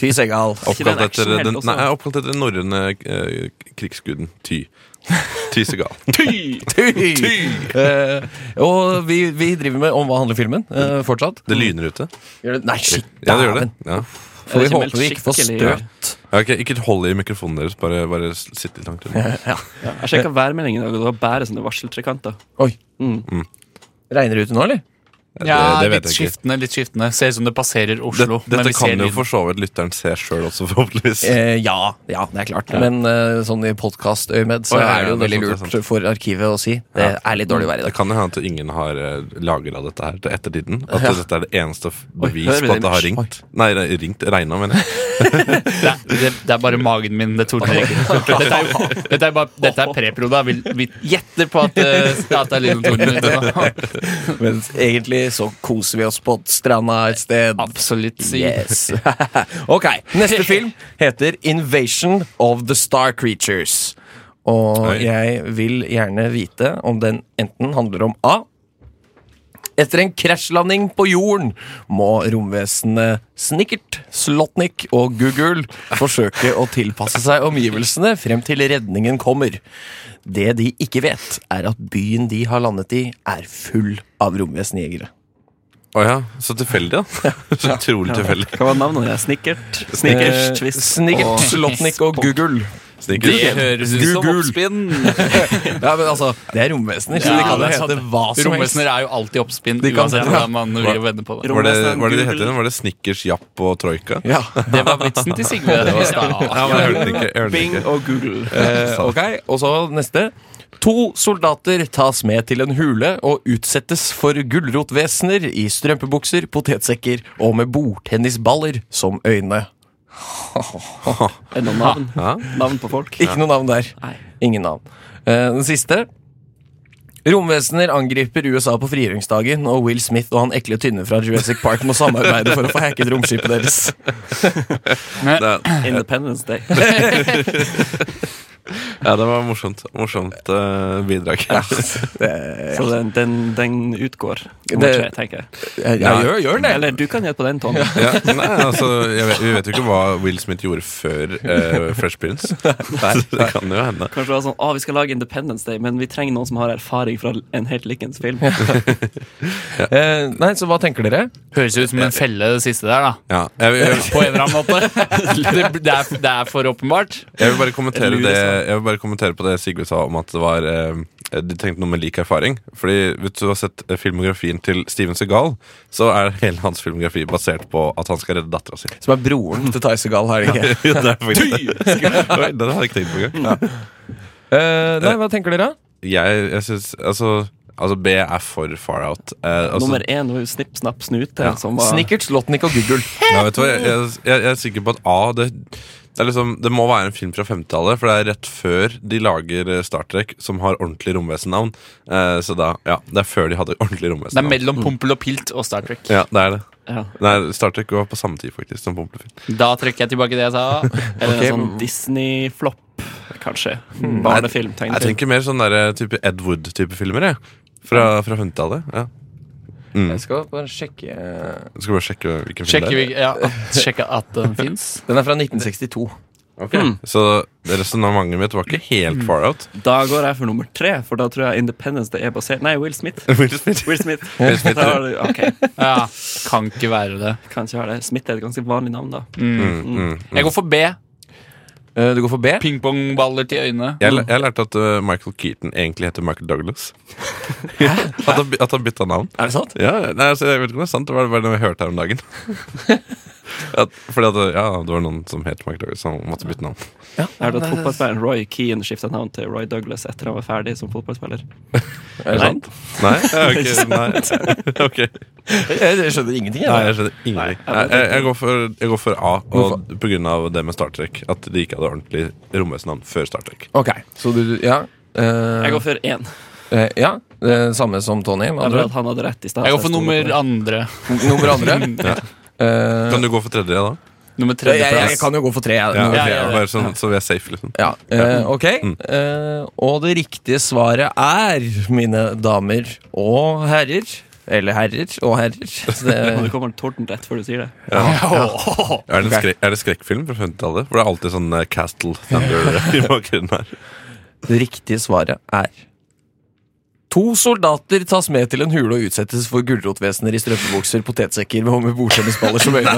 Ty Segal. Ikke den Oppkalt etter actionhelten den, også. nei, oppkalt etter den norrøne eh, krigsguden Ty. Ty Segal. Eh, og vi, vi driver med om hva handler filmen eh, fortsatt. Det lyner ute. Gjør det- Nei, shit, Ja, det gjør det. dæven. Ja. Får Det vi er ikke håpe vi meldt ikke får skikkelig. støt. Ja, ok, ikke hold i mikrofonen deres, bare, bare sitt litt langt unna. Jeg sjekka værmeldingen i dag, og det var bare sånne varseltrekanter. Oi. Mm. Regner det ute nå, eller? Ja, Ja, det- det vet litt jeg ikke. skiftende. litt skiftende Ser ut som det passerer Det, Oslo. men dette vi ser kan jo lyden. for så vidt lytteren se sjøl også, forhåpentligvis. Eh, ja, ja, det er klart. Men eh, sånn i podkastøyemed så Å, ja, ja, er det jo det er veldig sant, det er lurt for arkivet å si. Det er litt dårlig vær i Det dag. kan jo hende at ingen har lagra dette her til ettertiden. At Ja. dette er det eneste f- bevis hører vi på det? at det har ringt. Nei, det er ringt, regna, mener jeg. det, det, det er bare magen min det tordner ikke. Dette er, jo- dette er, bare- dette er prepro, da. Vi, vi gjetter på at, eh, at det er litt torden ute. nå. Men egentlig så koser vi oss på stranda et sted. Absolutt. si. Yes. ok, neste film heter Invasion of the Star Creatures. Og Oi. jeg vil gjerne vite om den enten handler om A. Etter en krasjlanding på jorden må romvesenene Snickert, Slotnik og Google forsøke å tilpasse seg omgivelsene frem til redningen kommer. Det de ikke vet, er at byen de har landet i, er full av romvesenjegere. Å ja, så tilfeldig, da. Så utrolig tilfeldig. Hva var navnet ditt? Snickert? Eh, Snickers, Twist? Eh, Snickert, Slotnik og Google. Snickers. Det høres ut som Gugul. oppspinn. Ja, men altså, Det er romvesener, så Ja, de kan det er jo hete hva som helst. Romvesener er jo alltid oppspinn, De kan- uansett hvordan man vil vende på det. Var det, Romvesten, var det Google. de het igjen? Var det Snickers, Japp og Troika? Ja. Det var vitsen til Sigve. i stad. Ja, men jeg hørte den ikke. Jeg hørte den Bing ikke. og Google. Eh, ok, Og så neste. To soldater tas med til en hule og utsettes for gulrotvesener i strømpebukser, potetsekker og med bordtennisballer som øyne. Er det noen navn? Ja. Navn på folk? Ikke noe navn der. Nei. Ingen navn. Eh, den siste. Romvesener angriper USA på frigjøringsdagen, og Will Smith og han ekle tynne fra Jurassic Park må samarbeide for å få hacket romskipet deres. Det, Independence Day. ja, det var morsomt. Morsomt eh, bidrag. Så den, den, den utgår. Nummer Det- tre, tenker jeg. Jeg, Ja. gjør, gjør det. Eller du kan gjette på den, Tom. Ja, nei, altså, jeg vet, vi vet jo ikke hva Will Smith gjorde før eh, Fresh Prince. Det kan jo hende. Kanskje det var sånn, å, vi skal lage Independence Day, men vi trenger noen som har erfaring fra en helt likens film. Eh, nei, så hva tenker dere? Høres ut som en felle, det siste der, da. Ja, jeg, jeg, På en eller annen måte. Det, det, er, det er for åpenbart. Jeg vil bare kommentere, Lurer det, svar. jeg vil bare kommentere på det Sigve sa om at det var eh, De tenkte noe med lik erfaring. Fordi hvis du har sett eh, filmografien til Steven Segal, så er hele hans filmografi basert på at han skal redde dattera si. Som er broren til Tyse Gall, har det ikke? det er faktisk Oi, den hadde jeg ikke tenkt på engang. Eh, nei, hva tenker dere? Jeg, jeg synes, altså, altså B er for far out. Eh, altså, Nummer én var jo Snipp, Snapp, Snute. Som var, Snickers, Lotnik og Google. ja, vet du hva, jeg, jeg, jeg jeg er sikker på at A det, det, er liksom, det må være en film fra 50-tallet, for det er rett før de lager eh, Star Trek, som har ordentlig romvesennavn. Eh, så da, ja, det er før de hadde ordentlig Det er romvesennavn. mellom Pompel og Pilt og Star Trek. Ja, det er det. ja, Nei, Star Trek var på samme tid faktisk som Pompelfin. Da trekker jeg tilbake det jeg sa. Eller en sånn Disney-flopp, kanskje. Barnefilm, Jeg tenkte Hmm. jeg. tenker mer sånn der, type Ed Wood-type filmer. Jeg. Fra, fra 50-tallet. Ja. Mm. Jeg skal bare sjekke Jeg Skal bare sjekke hvilken film Sjekker det er. vi ja, at- sjekker at den fins. Den er fra 1962. Så resonnementet mitt var ikke helt far out. Da går jeg for nummer tre, for da tror jeg Independence Day er basert Nei, Will Smith. Will Smith. Will Smith. Will Smith, Da har du- ok, Ja, kan ikke være det. kan ikke være det. Smith er et ganske vanlig navn, da. Jeg går for B. Eh, du går for B? Pingpongballer til øynene. Jeg, jeg lærte at uh, Michael Keaton egentlig heter Michael Douglas. at, han, by- at han bytta navn. Er det sant? Ja, nei, altså, jeg vet ikke om det er sant, det var bare noe jeg hørte her om dagen. at, fordi at, ja, det var noen som het Michael Douglas, så han måtte bytte navn. Er det at fotballspilleren Roy Keane skifta navn til Roy Douglas etter han var ferdig som fotballspiller? Sånn. Er det Nei. sant? Nei, ok. Nei. ok. Jeg, jeg skjønner ingenting. Jeg. Nei, jeg skjønner ingenting. Nei, jeg, jeg, går for, jeg går for A, og Hvorfor? på grunn av det med Star Trek. At de ikke hadde ordentlig romvesenavn før Star Trek. Ok, så du Ja. eh, Jeg går for én. eh, ja. eh, samme som Tony. Med Jeg andre. tror at han hadde rett i stad. Jeg går så for stoler på nummer det. andre. ord. Nummer andre. Eh, Kan du gå for tredje, da? Nummer Jeg, jeg, tredjeplass. jeg kan jo gå for tre. Jeg, Ja, nummer ok, tre. ja, ja. Bare sånn, så vi er safe, liksom. Ja, eh, ok. Eh, og det riktige svaret er, mine damer og herrer Eller herrer og herrer. Så Og Det, du kommer torden rett før du sier det. Er det, en skrek, er det skrekkfilm fra 50-tallet? For det er alltid sånn eh, Castle Thunder i bakgrunnen her. det riktige svaret er To soldater tas med til en hule og utsettes for gulrotvesener i strømpebukser, potetsekker og med bordtennisballer som øyne.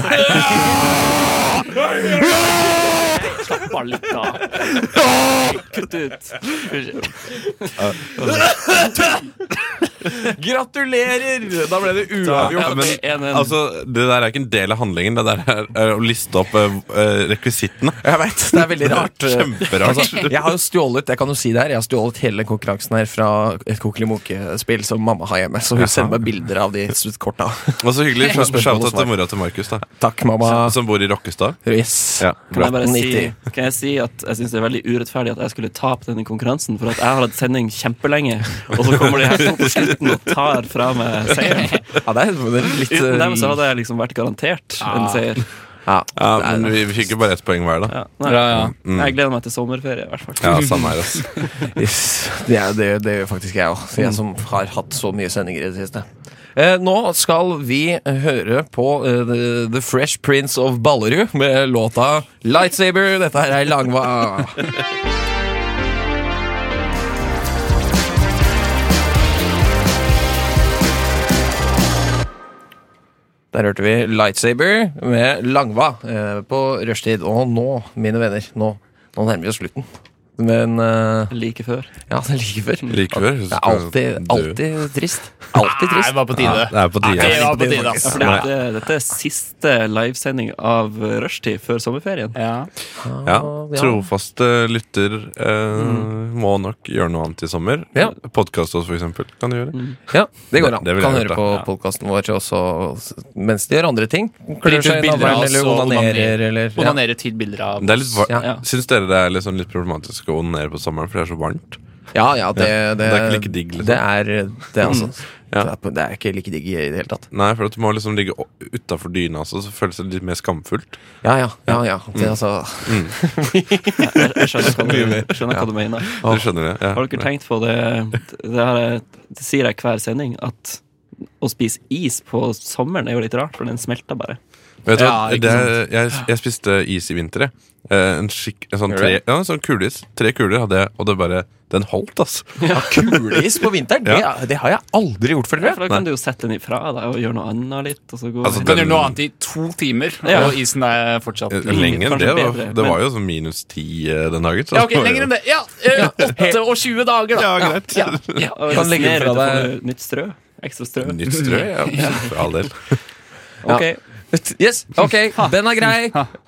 Bare litt av. Kutt ut. Gratulerer! Da ble det Ja, uavgjort. men, en- en- altså, det der er ikke en del av handlingen. Det der er eh, å liste opp eh, eh, rekvisittene. Jeg vet, Det er veldig rart. Kjemperart. Altså, jeg har jo stjålet jeg kan jo si det her, jeg har stjålet hele konkurransen her fra et Kokkelimonke-spill som mamma har hjemme. Så hun sender meg bilder av de korta. Og så hyggelig. Helt spørsmål Shout og out til svar. mora til Markus, da. Takk, mamma. Som bor i Rokkestad. Yes. Ja, Kan jeg bra. bare si, 90. kan jeg si at jeg syns det er veldig urettferdig at jeg skulle tape denne konkurransen, for at jeg har hatt sending kjempelenge, og så kommer de her to på slutten og tar fra meg seieren. Ja, det er det er litt Uten dem så eh, hadde jeg liksom vært garantert en seier. ja. Ja, men vi, vi fikk jo bare ett poeng hver, da. Ja, nei, Ja, ja. Jeg gleder meg til sommerferie, i hvert fall. Ja, samme her, ass. Yes. Det, er, det, det gjør faktisk jeg òg, jeg som har hatt så mye sendinger i det siste. Eh, nå skal vi høre på eh, The, The Fresh Prince of Ballerud med låta Lightsaber. Dette her er Langva. Der hørte vi Lightsaber med Langva eh, på rushtid. Og nå, mine venner, nå, nå nærmer vi oss slutten. Men eh, Like før. Ja, det er like før. Like før, så Det er skal alltid, du- alltid trist. Alltid Nei, det trist. var på Ja, tide. det er på tide. Det var på tide, Ja, ass. for dette, dette er siste livesending av rushtid før sommerferien. Ja. Ja, ja. Mm. Trofaste lytter eh, må nok gjøre noe annet i sommer. Ja. Mm. Podkast oss, for eksempel. Kan du gjøre. Ja, det går an. Det vil jeg kan gjøre, høre da. på podkasten vår også mens de gjør andre ting. Klør Legg ut seg i bilder av navlen oss eller og onanerer eller ja. Onanere til bilder av Det er litt var Ja. Ja. Syns dere det er litt, sånn litt problematisk å onanere på sommeren, for det er så varmt? ja, ja, det, det, Det er ikke like digg, liksom. Det er det, er altså. Ja. Det, er, på- det er ikke like digg i det hele tatt. Nei, for at du må liksom ligge utafor dyna også, så føles det litt mer skamfullt. Ja, ja. ja, ja. Det, altså. Jeg, jeg skjønner hva du, skjønner hva du mener. Du skjønner det? Ja. Har dere tenkt på det Det, har jeg, det sier jeg hver sending, at å spise is på sommeren er jo litt rart, for den smelter bare. Vet du hva, Ja, ikke det er, jeg, jeg spiste is i vinter, jeg. Eh, en, skikk, en sånn tre, ja, en sånn kuleis. Tre kuler hadde jeg, og det bare Den holdt, ass. Ja, kuleis på vinteren, det, er- det har jeg aldri gjort for For dere. da kan du jo sette den ifra deg og gjøre noe annet litt. Og så gå Altså, Du kan den- gjøre noe annet i to timer, Ja. og isen er fortsatt Eh, Lenger enn Kanskje det. var- bedre, det var men- jo sånn minus ti eh, den dagen. så Ja, ok, det var jo- lenger enn det. Ja, eh, 28 dager, da. Ja, greit. ja, og Kan legge resonere fra ut og få deg- Nytt strø. Ekstra strø. Nytt strø, ja. For all del. Ok. Yes, ok, Den er grei.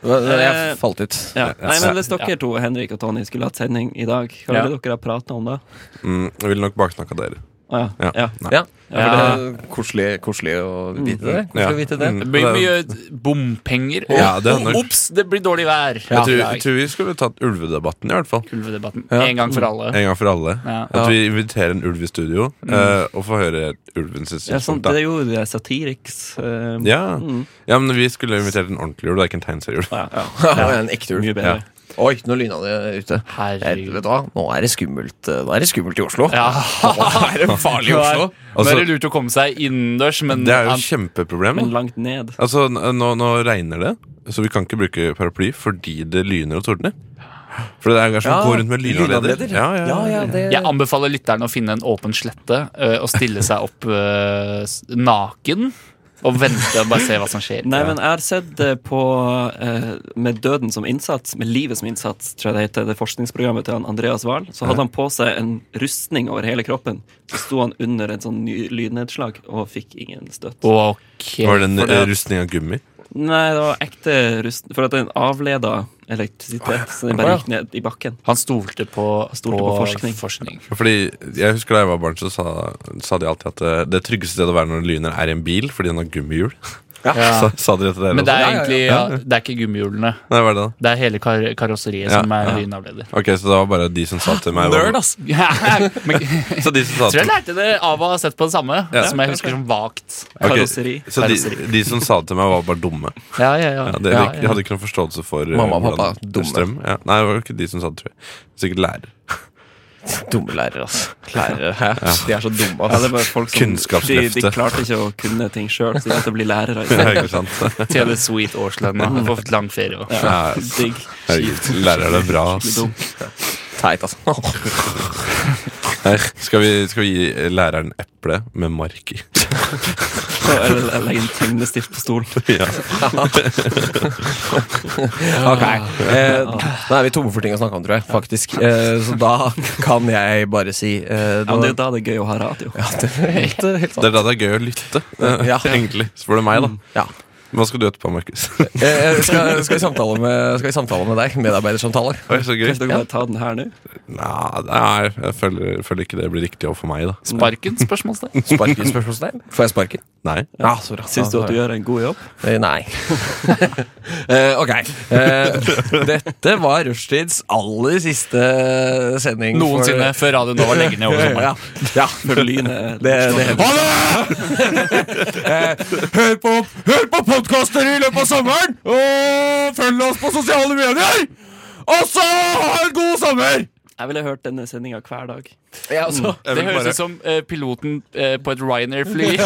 Jeg falt ut. Ja. Nei, men Hvis dere to, Henrik og Tony, skulle hatt sending i dag, hva Ja. ville dere ha prata om da? Mm, jeg ville nok baksnakka dere. Å, ja. Ja. Ja, Ja. for det er koselig, koselig å vite det. Koselig Ja. å vite det. Mm. Det blir mye bompenger. Og, Ja, det er nok- Ops, det blir dårlig vær. Jeg tror, i dag. jeg tror vi skulle tatt ulvedebatten, i hvert fall. Ulvedebatten. Ja. En gang for alle. En gang for alle. Ja. At vi inviterer en ulv i studio eh, og får høre ulvens Ja, sånn, det synspunkt. da. er jo det Satiriks eh, Ja. Mm. ja, men vi skulle invitert en ordentlig ulv, det er ikke en tegneserieulv. ja, ja. Ja, en ekte ulv. Mye bedre. Ja. Oi, nå lyna det ute. Jeg- Vet Herregud. du hva, nå er det skummelt eh, Nå er det skummelt i Oslo. Ja. Nå er det farlig i Nå er- Oslo. Nå Altså- er det lurt å komme seg innendørs, men Det er jo an- et kjempeproblem. Men da. langt ned. Altså, n- nå, nå regner det, så vi kan ikke bruke paraply fordi det lyner og tordner. For det er jo som Ja, å gå rundt med lynavleder. lynavleder. Ja, ja, ja. ja, det jeg anbefaler lytterne å finne en åpen slette ø, og stille seg opp ø, s- naken. Og vente og bare se hva som skjer. Nei, men jeg har sett det på eh, Med døden som innsats, med livet som innsats, tror jeg det heter, det forskningsprogrammet til han Andreas Wahl. Så hadde han på seg en rustning over hele kroppen. Så sto han under et sånn ny- lynnedslag og fikk ingen støtt. Ok. Var det en For det- eh, rustning av gummi? Nei, det var ekte rustning, for at den avleda elektrisitet, så den bare gikk ned i bakken. Han stolte på, stolte på forskning. Fordi Jeg husker da jeg var barn, så sa, sa de alltid at eh, det tryggeste stedet å være når det lyner, er i en bil fordi den har gummihjul. Sa, sa de det til dere Men det er også? egentlig ja, Det er ikke gummihjulene. Nei, hva er det da? Det er hele kar karosseriet Ja, som er ja. lynavleder. Ok, så det var bare de som sa til meg Nerd, ass! Men- Så de som sa Jeg tror jeg til lærte det av å ha sett på det samme, Ja. som jeg husker som vagt. Ok, Karosseri. Så de, de som sa det til meg, var bare dumme. Ja, ja, ja. Ja, de, ja, de ja. hadde ikke noen forståelse for uh, Mamma og pappa, hvordan- dumme. strøm. Ja. Nei, det var jo ikke de som sa det, tror jeg. Sikkert lærer. Dumme lærere, ass. Lærere, hæ? De er så dumme, Ja, ass. det er bare folk som, de, Kunnskapsløftet. de klarte ikke å kunne ting sjøl, så de måtte bli lærere. i Ja, stedet. ikke sant? Tjene sweet årslønn og få lang ferie. Og. Ja, Digg. herregud, lærer er bra, ass. Dum. Teit, ass. Nei, skal, vi, skal vi gi læreren eple med mark i? Eller eller legge en tegnestift på stolen. Ja. Ok. Eh, da er vi tomme for ting å snakke om, tror jeg. Faktisk. Eh, så da kan jeg bare si eh, Ja, men det er det, jo da det er gøy å ha radio. ja, det er helt, helt Det sant. er da det er gøy å lytte, eh, Ja. Mm. egentlig. Spør du meg, da. Ja. Hva skal du etterpå, Markus? Eh, skal, skal, vi samtale med, skal vi samtale med deg? Medarbeidersamtale? Oi, så gøy. Kanskje dere bare ta den her nå? Nei, nei, jeg føler, føler ikke det blir riktig jobb for meg, da. Sparken? Spørsmålstegn. Sparken? Spørsmålstegn? Får jeg sparken? Nei. Ja, så bra. Syns du at du gjør en god jobb? Eh, Nei. Eh, ok. Eh, dette var Rushtids aller siste sending. for- Noensinne før Radio Nova legger ned over sommeren. Ja, ja. Før lynet Det, Eh, det hender. Hør på, hør på podkaster i løpet av sommeren, og følg oss på sosiale medier! Og så ha en god sommer! Jeg ville hørt denne sendinga hver dag. Ja, altså. Det høres ut som eh, piloten eh, på et Ryanair-fly.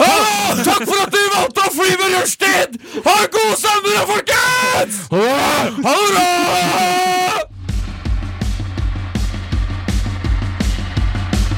Ah, takk for at du valgte å fly med rushtid! Ha en god sommer, da, folkens! Ha det bra!